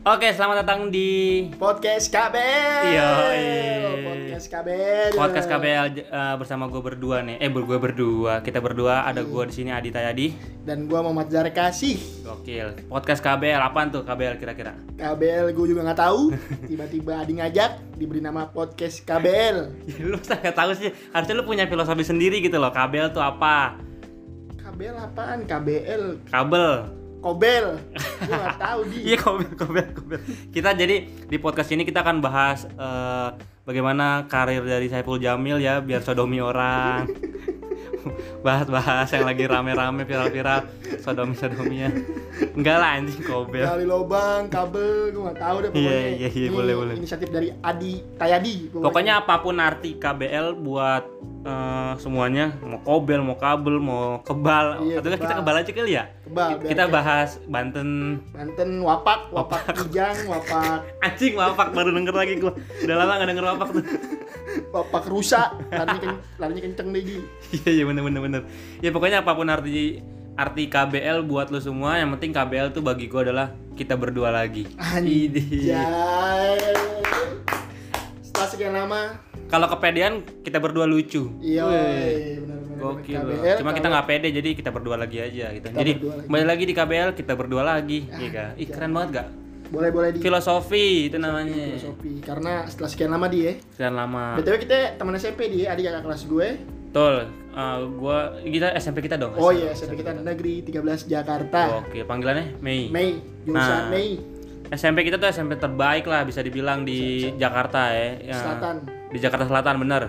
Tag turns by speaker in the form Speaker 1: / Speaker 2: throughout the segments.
Speaker 1: Oke, selamat datang di
Speaker 2: Podcast KBL.
Speaker 1: Yoi.
Speaker 2: Podcast KBL.
Speaker 1: podcast KBL eh, bersama gue berdua nih. Eh, ber- gue berdua. Kita berdua ada gue di sini Adi Tayadi.
Speaker 2: Dan gua Muhammad Zahra Kasih.
Speaker 1: Gokil. Podcast KBL apaan tuh KBL kira-kira?
Speaker 2: KBL gua juga nggak tahu. Tiba-tiba Adi ngajak diberi nama podcast KBL.
Speaker 1: Ya, lu masa nggak tahu sih. Harusnya lu punya filosofi sendiri gitu loh. KBL tuh apa?
Speaker 2: KBL apaan? KBL
Speaker 1: Kabel.
Speaker 2: Kobel. Gua nggak tahu di.
Speaker 1: Iya, kabel, kabel, kabel. Kita jadi di podcast ini kita akan bahas eh, bagaimana karir dari Saiful Jamil ya biar sodomi orang. Bahas-bahas yang lagi rame-rame viral-viral sodomi-sodominya. Enggak lah anjing kobel.
Speaker 2: Kali lobang, kabel, gua nggak tahu deh pokoknya.
Speaker 1: Iya, iya, iya,
Speaker 2: Ini
Speaker 1: boleh, boleh.
Speaker 2: Inisiatif dari Adi Tayadi.
Speaker 1: Pokoknya apapun arti KBL buat eh, semuanya mau kobel, mau kabel, mau kebal,
Speaker 2: Iya,
Speaker 1: atau nggak kita kebal
Speaker 2: kebal.
Speaker 1: aja kali ya.
Speaker 2: Kebal, biar
Speaker 1: kita
Speaker 2: kayak-
Speaker 1: bahas Banten.
Speaker 2: Banten wapak, wapak kijang, wapak
Speaker 1: Anjing wapak baru denger lagi gua. Udah lama nggak denger wapak tuh.
Speaker 2: wapak rusak. Larinya, ken, larinya kenceng deh di.
Speaker 1: Iya iya bener bener bener. Ya pokoknya apapun arti arti KBL buat lu semua, yang penting KBL tuh bagi gua adalah kita berdua lagi. Idi.
Speaker 2: Anjay. Setelah sekian lama,
Speaker 1: Kalau kepedean kita berdua lucu.
Speaker 2: Iya,
Speaker 1: Weh.
Speaker 2: benar-benar.
Speaker 1: Gokil.
Speaker 2: KBL,
Speaker 1: Cuma kita nggak pede jadi kita berdua lagi aja gitu. jadi
Speaker 2: berdua lagi.
Speaker 1: kembali lagi di KBL kita berdua lagi. Iya Kak. Ih keren banget gak?
Speaker 2: boleh boleh di
Speaker 1: Filosofi itu namanya.
Speaker 2: filosofi karena setelah sekian lama dia.
Speaker 1: Sekian lama.
Speaker 2: BTW kita teman SMP dia, adik kakak kelas gue.
Speaker 1: Betul. Eh, gua kita SMP kita dong.
Speaker 2: Oh iya, SMP kita negeri 13 Jakarta.
Speaker 1: Oke, panggilannya Mei.
Speaker 2: Mei,
Speaker 1: Nah.
Speaker 2: jurusan Mei,
Speaker 1: SMP kita tuh SMP terbaik lah bisa dibilang di Jakarta ya. Ya,
Speaker 2: Selatan.
Speaker 1: Di Jakarta Selatan bener.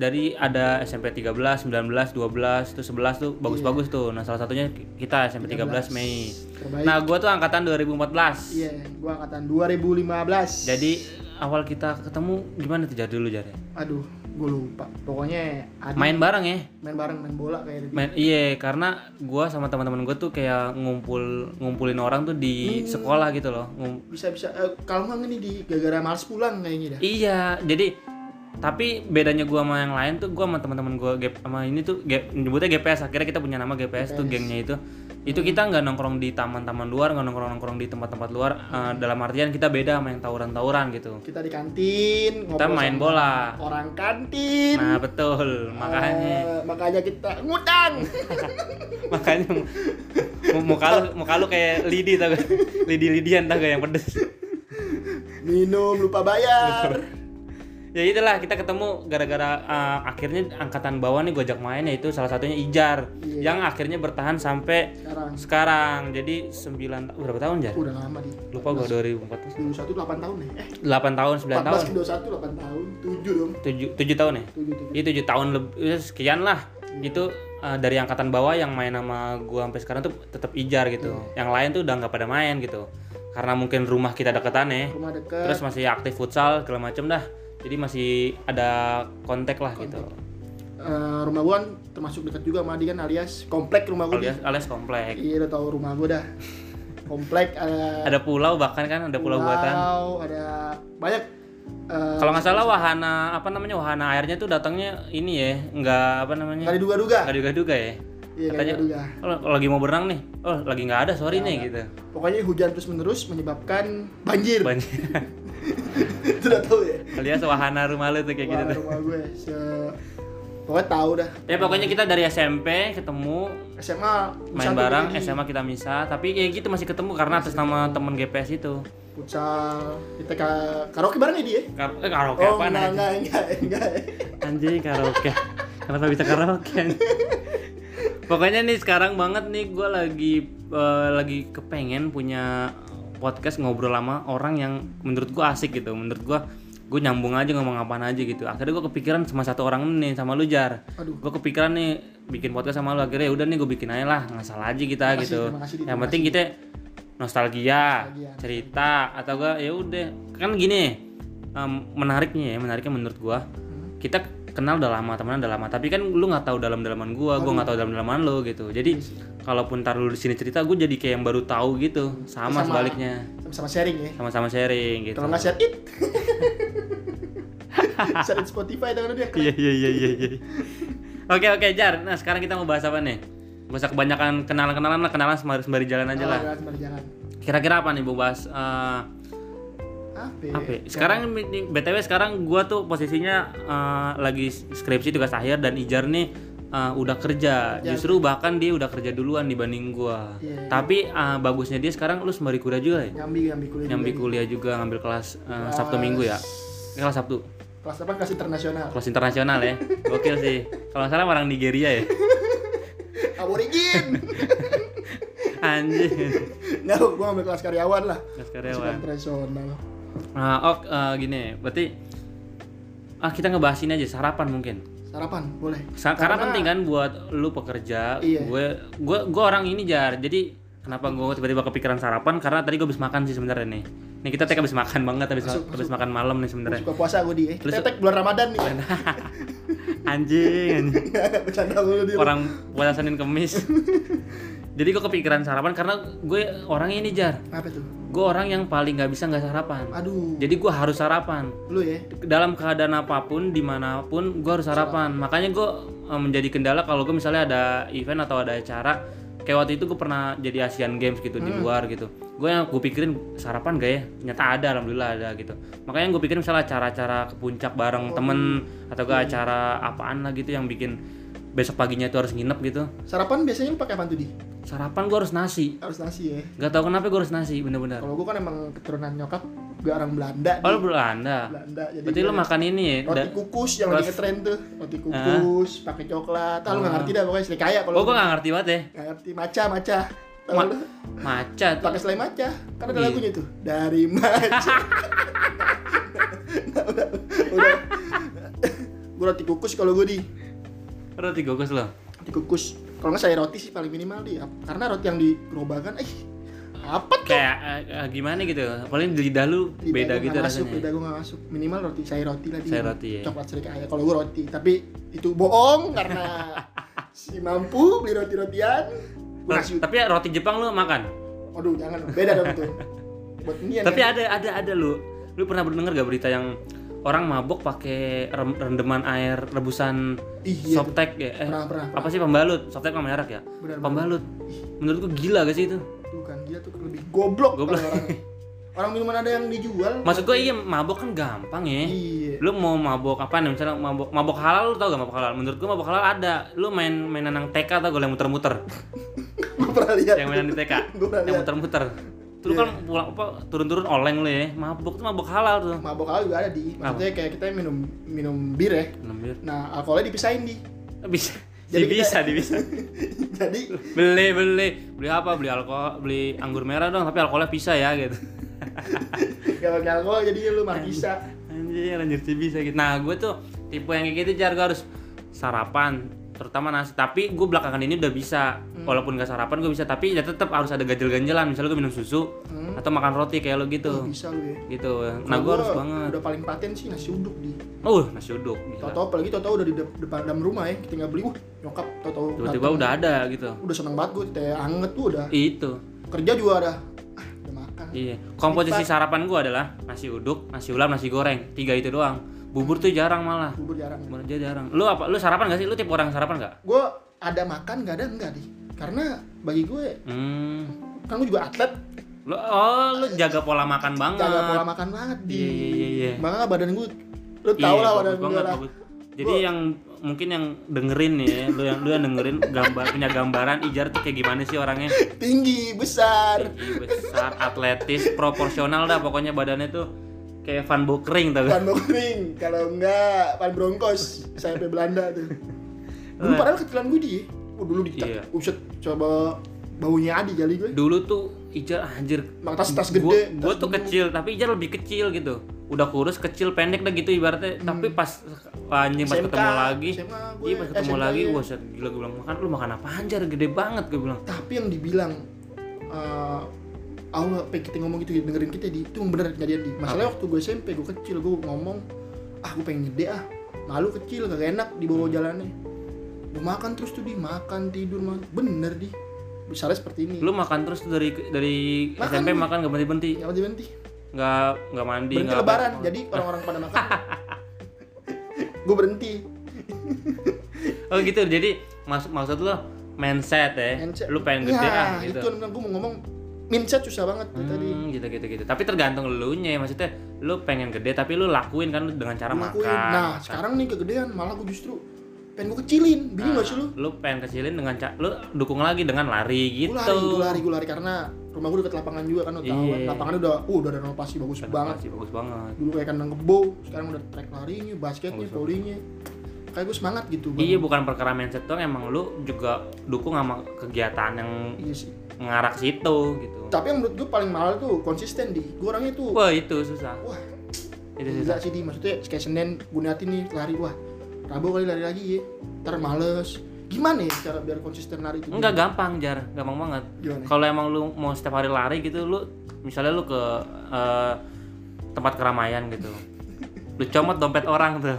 Speaker 1: Dari ada SMP 13, 19, 12, tuh 11 tuh bagus-bagus tuh. Nah, salah satunya kita SMP 13, Mei.
Speaker 2: Terbaik.
Speaker 1: Nah, gua tuh angkatan 2014.
Speaker 2: Iya, gua angkatan 2015.
Speaker 1: Jadi awal kita ketemu gimana tuh Jar dulu Jar? ya?
Speaker 2: Aduh, gue lupa. Pokoknya adik
Speaker 1: Main bareng ya?
Speaker 2: main bareng main bola kayak gitu.
Speaker 1: Main, iya, karena gua sama teman-teman gua tuh kayak ngumpul ngumpulin orang tuh di sekolah gitu loh. Ngum-
Speaker 2: bisa-bisa eh, kalau nggak nih di gara-gara males pulang kayaknya dah.
Speaker 1: Iya, jadi tapi bedanya gua sama yang lain tuh gua sama teman-teman gua gap sama ini tuh gap, nyebutnya GPS akhirnya kita punya nama GPS, tuh gengnya itu itu kita nggak nongkrong di taman-taman luar nggak nongkrong nongkrong di tempat-tempat luar Eh, dalam artian kita beda sama yang tawuran-tawuran gitu
Speaker 2: Kita di kantin
Speaker 1: kita
Speaker 2: ngobrol
Speaker 1: main
Speaker 2: sama
Speaker 1: bola
Speaker 2: orang kantin.
Speaker 1: nah betul makanya
Speaker 2: Eh, makanya kita ngutang.
Speaker 1: makanya mu- muka lu muka lu kayak lidi tau gak lidi lidian tau gak yang pedes
Speaker 2: Minum lupa bayar.
Speaker 1: ya itulah kita ketemu gara-gara eh, akhirnya angkatan bawah nih gojak main yaitu salah satunya Ijar yang akhirnya bertahan sampai
Speaker 2: Sekarang
Speaker 1: sekarang jadi 9 ta- berapa tahun Jar?
Speaker 2: udah lama nih.
Speaker 1: lupa gua 2014
Speaker 2: 21 8 tahun ya. Eh,
Speaker 1: 8 tahun 9 tahun
Speaker 2: 14 ke 21 8 tahun. 7 dong.
Speaker 1: 7, 7 tahun ya
Speaker 2: 7 tuh.
Speaker 1: itu 7 tahun lebih sekian lah itu eh, dari angkatan bawah yang main sama gua sampai sekarang tuh tetap Ijar gitu yang lain tuh udah nggak pada main gitu karena mungkin rumah kita deketan ya
Speaker 2: Rumah dekat.
Speaker 1: terus masih aktif futsal segala macem dah jadi masih ada kontak lah gitu
Speaker 2: Eh, rumah gua kan termasuk dekat juga sama Adi kan alias komplek rumah gua.
Speaker 1: alias, alias komplek
Speaker 2: Iya, udah tahu rumah gua dah. komplek ada
Speaker 1: ada pulau bahkan kan ada pulau buatan
Speaker 2: pulau, ada banyak eh,
Speaker 1: kalau nggak salah wahana apa namanya wahana airnya tuh datangnya ini ya nggak apa namanya
Speaker 2: nggak diduga-duga.
Speaker 1: nggak duga-duga ya
Speaker 2: Iya, nggak
Speaker 1: Katanya-
Speaker 2: diduga.
Speaker 1: oh, lagi mau berenang nih oh lagi nggak ada sorry nih gitu
Speaker 2: Pokoknya hujan terus-menerus menyebabkan banjir.
Speaker 1: banjir
Speaker 2: Itu udah tahu ya.
Speaker 1: alias wahana rumah lu tuh kayak gitu
Speaker 2: Wah,
Speaker 1: tuh
Speaker 2: rumah gue se pokoknya tahu dah
Speaker 1: ya pokoknya kita dari SMP ketemu
Speaker 2: SMA
Speaker 1: main
Speaker 2: futsal tuh
Speaker 1: bareng
Speaker 2: gini.
Speaker 1: SMA kita misah tapi ya gitu masih ketemu karena atas nama temen GPS itu
Speaker 2: futsal kita ka karaoke bareng ya dia
Speaker 1: Kar eh, karaoke
Speaker 2: oh
Speaker 1: apaan
Speaker 2: enggak,
Speaker 1: anjing?
Speaker 2: enggak enggak enggak
Speaker 1: Anjing karaoke. Kenapa bisa karaoke? anjing? Pokoknya nih sekarang banget nih gue lagi eh, lagi kepengen punya podcast ngobrol lama orang yang menurut gue asik gitu. Menurut gue gue nyambung aja ngomong apaan aja gitu. Akhirnya gue kepikiran sama satu orang nih sama lu Jar.
Speaker 2: Aduh.
Speaker 1: Gue kepikiran nih bikin podcast sama lu akhirnya ya udah nih gue bikin aja lah nggak salah aja kita
Speaker 2: kasih,
Speaker 1: gitu.
Speaker 2: terima kasih,
Speaker 1: yang penting kita nostalgia,
Speaker 2: Nostalgia.
Speaker 1: cerita atau gue ya udah kan gini em, menariknya ya menariknya menurut gua
Speaker 2: Hmm.
Speaker 1: kita kenal udah lama temenan udah lama tapi kan lu nggak tahu dalam dalaman gua gua nggak tahu dalam dalaman lu gitu
Speaker 2: Iya
Speaker 1: jadi kalaupun tar lu di sini cerita gua jadi kayak yang baru tahu gitu sama,
Speaker 2: Hmm. Sama.
Speaker 1: sebaliknya
Speaker 2: sama-sama sharing ya
Speaker 1: sama-sama sharing gitu
Speaker 2: kalau nggak share it share it Spotify dengan dia
Speaker 1: iya iya iya iya iya. oke oke jar nah sekarang kita mau bahas apa nih Gak usah kebanyakan kenalan-kenalan lah, kenalan sembari, sembari Iya, jalan aja lah.
Speaker 2: Jalan sembari jalan.
Speaker 1: Kira-kira apa nih Bu Bas? Eh,
Speaker 2: Apa?
Speaker 1: apa? ya? Sekarang ini- BTW sekarang gua tuh posisinya eh, lagi skripsi tugas akhir dan Ijar nih eh, udah kerja. Justru bahkan dia udah kerja duluan dibanding gua.
Speaker 2: Ya. Iya, iya.
Speaker 1: Tapi eh, bagusnya dia sekarang lu sembari kuliah juga ya?
Speaker 2: nyambi nyambi kuliah.
Speaker 1: Nyambi
Speaker 2: juga.
Speaker 1: kuliah juga ngambil kelas eh, Sabtu Minggu ya. Eh, Kelas Sabtu.
Speaker 2: Kelas apa? Kelas internasional.
Speaker 1: Kelas internasional ya. Gokil sih. Kalau nggak salah orang Nigeria ya.
Speaker 2: Aborigin.
Speaker 1: Anjir.
Speaker 2: Nggak, gua ambil kelas karyawan lah.
Speaker 1: Kelas
Speaker 2: Kelas
Speaker 1: karyawan.
Speaker 2: internasional. kan?
Speaker 1: Nah, ok, eh, gini, berarti ah kita ngebahas ini aja sarapan mungkin.
Speaker 2: Sarapan boleh.
Speaker 1: Sa- karena, penting kan buat lu pekerja,
Speaker 2: Iya.
Speaker 1: gue gue gue orang ini jar. Jadi kenapa gue tiba-tiba kepikiran sarapan karena tadi gue habis makan sih sebenarnya nih. Nih kita tag habis makan banget habis ma- habis makan malam nih sebenarnya.
Speaker 2: Suka puasa gue di. Eh.
Speaker 1: Terus-
Speaker 2: Kita tag bulan Ramadan nih.
Speaker 1: anjing, anjing.
Speaker 2: Iya, Bercanda lu di.
Speaker 1: Orang puasa Senin Kemis. Jadi gue kepikiran sarapan karena gue orang ini jar.
Speaker 2: Apa tuh?
Speaker 1: Gue orang yang paling nggak bisa nggak sarapan.
Speaker 2: Aduh.
Speaker 1: Jadi gue harus sarapan.
Speaker 2: Lu ya.
Speaker 1: dalam keadaan apapun dimanapun gue harus sarapan makanya gue menjadi kendala kalau gue misalnya ada event atau ada acara kayak waktu itu gue pernah jadi Asian Games gitu
Speaker 2: Hmm.
Speaker 1: di luar gitu gue yang gue pikirin sarapan gak ya nyata ada alhamdulillah ada gitu makanya gue pikirin misalnya acara-acara ke puncak
Speaker 2: Oh.
Speaker 1: bareng temen atau
Speaker 2: Hmm.
Speaker 1: gak acara apaan lah gitu yang bikin besok paginya itu harus nginep gitu
Speaker 2: Sarapan biasanya lu pakai apa tuh di?
Speaker 1: sarapan gue harus nasi
Speaker 2: Harus nasi ya.
Speaker 1: gak tau kenapa gue harus nasi bener-bener
Speaker 2: Kalau gue kan emang keturunan nyokap gue orang Belanda.
Speaker 1: oh
Speaker 2: Di.
Speaker 1: lu Belanda
Speaker 2: Belanda. Jadi
Speaker 1: berarti
Speaker 2: gua
Speaker 1: lu makan ini ya
Speaker 2: roti
Speaker 1: da-
Speaker 2: kukus yang
Speaker 1: Terus-
Speaker 2: lagi
Speaker 1: Ah.
Speaker 2: ngetren tuh. Roti kukus pakai coklat. Ah, lu nggak ngerti dah pokoknya selai kaya kalau
Speaker 1: oh gue
Speaker 2: lu
Speaker 1: gak ngerti banget ya
Speaker 2: nggak ngerti maca maca. Tahu
Speaker 1: Ma-
Speaker 2: lu?
Speaker 1: maca tuh.
Speaker 2: pakai selai maca kan ada
Speaker 1: Iya.
Speaker 2: lagunya tuh dari maca udah gue roti kukus kalau gue di
Speaker 1: Roti gokus loh.
Speaker 2: roti kukus kalau nggak saya roti sih paling minimal di karena roti yang di gerobakan eh apa tuh
Speaker 1: Kayak eh, eh, gimana gitu. Paling di lidah lu
Speaker 2: Lidah
Speaker 1: beda
Speaker 2: gua
Speaker 1: gitu
Speaker 2: nggak masuk,
Speaker 1: rasanya.
Speaker 2: beda gue gak masuk minimal roti saya roti lah di
Speaker 1: Saya roti, ya.
Speaker 2: coklat serik ayah kalau gue roti tapi itu bohong karena si mampu beli roti rotian gue
Speaker 1: Roti-
Speaker 2: ngasih
Speaker 1: Tapi ya roti Jepang lu makan.
Speaker 2: aduh jangan beda dong tuh buat ini
Speaker 1: Tapi ada ada ada lu. Lu pernah dengar gak berita yang orang mabok pakai rem- rendeman air rebusan
Speaker 2: Iya,
Speaker 1: softtek ya? Eh,
Speaker 2: pernah pernah
Speaker 1: apa sih pembalut? Softtek sama merek ya?
Speaker 2: Benar, benar.
Speaker 1: pembalut. Menurut gua gila gak sih itu?
Speaker 2: Tuh kan dia tuh lebih goblok,
Speaker 1: Goblok.
Speaker 2: kalau orangnya. Orang minuman ada yang dijual.
Speaker 1: Maksud gua iya mabok kan gampang ya.
Speaker 2: Iya.
Speaker 1: lu mau mabok apa nih misalnya mabok mabok halal lu tau gak mabok halal menurut gua mabok halal ada lu main mainan yang TK tau gak yang muter-muter
Speaker 2: Gua pernah lihat.
Speaker 1: yang mainan di TK
Speaker 2: Gua pernah
Speaker 1: yang
Speaker 2: lihat. Iya.
Speaker 1: muter-muter terus kan pulang apa turun-turun oleng lu ya mabuk tuh mabuk halal tuh
Speaker 2: Mabok alkohol juga ada di. Maksudnya kayak kita minum minum bir ya.
Speaker 1: Lembir.
Speaker 2: Nah, alkoholnya dipisahin di.
Speaker 1: Eh, bisa
Speaker 2: Jadi kita-
Speaker 1: bisa bisa
Speaker 2: Jadi
Speaker 1: beli beli beli apa beli alkohol beli anggur merah dong tapi alkoholnya bisa ya gitu
Speaker 2: gak pakai alkohol jadi lu markisa.
Speaker 1: Iya. anjir anjir sih bisa gitu nah gue tuh tipe yang kayak gitu jar gue harus sarapan terutama nasi tapi gue belakangan ini udah bisa
Speaker 2: Hmm.
Speaker 1: walaupun gak sarapan gue bisa tapi ya tetap harus ada ganjel-ganjelan misalnya gue minum susu
Speaker 2: Hmm.
Speaker 1: atau makan roti kayak lo
Speaker 2: Tuh
Speaker 1: gitu
Speaker 2: bisa lu ya.
Speaker 1: gitu nah gue
Speaker 2: Oh.
Speaker 1: harus banget
Speaker 2: Udah paling paten sih nasi uduk di.
Speaker 1: uh nasi uduk gila.
Speaker 2: Toto apalagi Toto udah di dep- depan dalam rumah ya. Kita nggak beli. Wah, nyokap Toto.
Speaker 1: tiba-tiba udah ada gitu
Speaker 2: udah seneng banget gue teh anget tuh udah.
Speaker 1: itu
Speaker 2: Kerja juga ada. Ah, udah makan.
Speaker 1: iya komposisi sarapan gua adalah nasi uduk nasi ulam nasi goreng tiga itu doang bubur tuh jarang malah
Speaker 2: Bubur jarang.
Speaker 1: bubur aja jarang lu apa lu sarapan gak sih lu tipe orang sarapan gak
Speaker 2: Gue ada makan gak ada enggak di. Karena bagi gue
Speaker 1: hmm
Speaker 2: kan gue juga atlet
Speaker 1: lu oh lu jaga pola makan banget
Speaker 2: jaga pola makan banget di
Speaker 1: Iya, iya, iya, iya.
Speaker 2: makanya badan gue lu tau
Speaker 1: Iya,
Speaker 2: lah
Speaker 1: bagus
Speaker 2: badan gue
Speaker 1: banget,
Speaker 2: lah
Speaker 1: bagus. jadi yang mungkin yang dengerin nih ya, lu yang lu yang dengerin gambar punya gambaran Ijar tuh kayak gimana sih orangnya
Speaker 2: tinggi besar
Speaker 1: Tinggi, besar atletis proporsional dah pokoknya badannya tuh kayak Van Bokering tau gak?
Speaker 2: pan kering kalau enggak pan bronkos saya sampai Belanda tuh dulu padahal kecilan gue di oh, dulu di
Speaker 1: Nah. Iya.
Speaker 2: uset coba baunya adi kali gue
Speaker 1: dulu tuh Ijar anjir
Speaker 2: mak tas tas
Speaker 1: gue
Speaker 2: gede
Speaker 1: gue
Speaker 2: tas
Speaker 1: tuh kecil tapi Ijar lebih kecil gitu udah kurus kecil pendek dah gitu ibaratnya
Speaker 2: Hmm.
Speaker 1: tapi pas anjing pas
Speaker 2: SMK,
Speaker 1: ketemu lagi
Speaker 2: SMA gue,
Speaker 1: iya pas ketemu
Speaker 2: SMK
Speaker 1: lagi
Speaker 2: gue.
Speaker 1: gue gila gue bilang makan lu makan apa anjir gede banget gue bilang
Speaker 2: tapi yang dibilang eh, Allah pe kita ngomong gitu dengerin kita di itu bener kejadian di masalahnya waktu gue SMP gue kecil gue ngomong ah gue pengen gede ah malu kecil kagak enak di bawah jalannya gue makan terus tuh di makan tidur makan bener di misalnya seperti ini
Speaker 1: lu makan terus tuh dari dari
Speaker 2: Makan,
Speaker 1: SMP makan gak berhenti berhenti
Speaker 2: yang berhenti berhenti
Speaker 1: nggak nggak mandi
Speaker 2: berhenti
Speaker 1: nggak
Speaker 2: lebaran jadi orang-orang pada makan gue berhenti
Speaker 1: oh gitu jadi maksud maksud lo mindset ya
Speaker 2: Mindset.
Speaker 1: lu pengen gede
Speaker 2: Ya,
Speaker 1: ah
Speaker 2: itu
Speaker 1: gitu
Speaker 2: yang bilang gue mau ngomong mindset susah banget tuh tadi
Speaker 1: Hmm, gitu gitu gitu tapi tergantung lu nya maksudnya lu pengen gede tapi lu lakuin kan dengan cara
Speaker 2: Lakuin.
Speaker 1: makan
Speaker 2: nah sekarang nih kegedean malah gue justru pengen gue kecilin
Speaker 1: Ah,
Speaker 2: bingung gak sih lu
Speaker 1: lu pengen kecilin dengan ca- lu dukung lagi dengan lari gitu
Speaker 2: gue lari gue lari gue lari karena rumah gue deket lapangan juga kan lo tau kan
Speaker 1: Iya.
Speaker 2: lapangannya udah uh udah renovasi bagus
Speaker 1: Bagus
Speaker 2: banget
Speaker 1: sih, bagus banget
Speaker 2: dulu kayak kandang kebo sekarang udah track larinya basketnya
Speaker 1: Bagus banget.
Speaker 2: volleynya kayak gue semangat gitu
Speaker 1: Iya bukan perkara mindset doang emang lu juga dukung sama kegiatan yang
Speaker 2: iya sih
Speaker 1: mengarah ke situ gitu.
Speaker 2: tapi yang menurut gue paling mahal tuh konsisten di gue orangnya tuh
Speaker 1: Wah itu susah.
Speaker 2: wah
Speaker 1: Itu susah.
Speaker 2: gila sih di maksudnya kayak Senin gue niatin nih lari wah Rabu kali lari lagi ya ntar males gimana ya cara biar konsisten lari itu
Speaker 1: Enggak gampang jar, gampang banget.
Speaker 2: Gimana?
Speaker 1: Kalau emang lu mau setiap hari lari gitu lu misalnya lu ke eh, tempat keramaian gitu. Lu comot dompet orang tuh.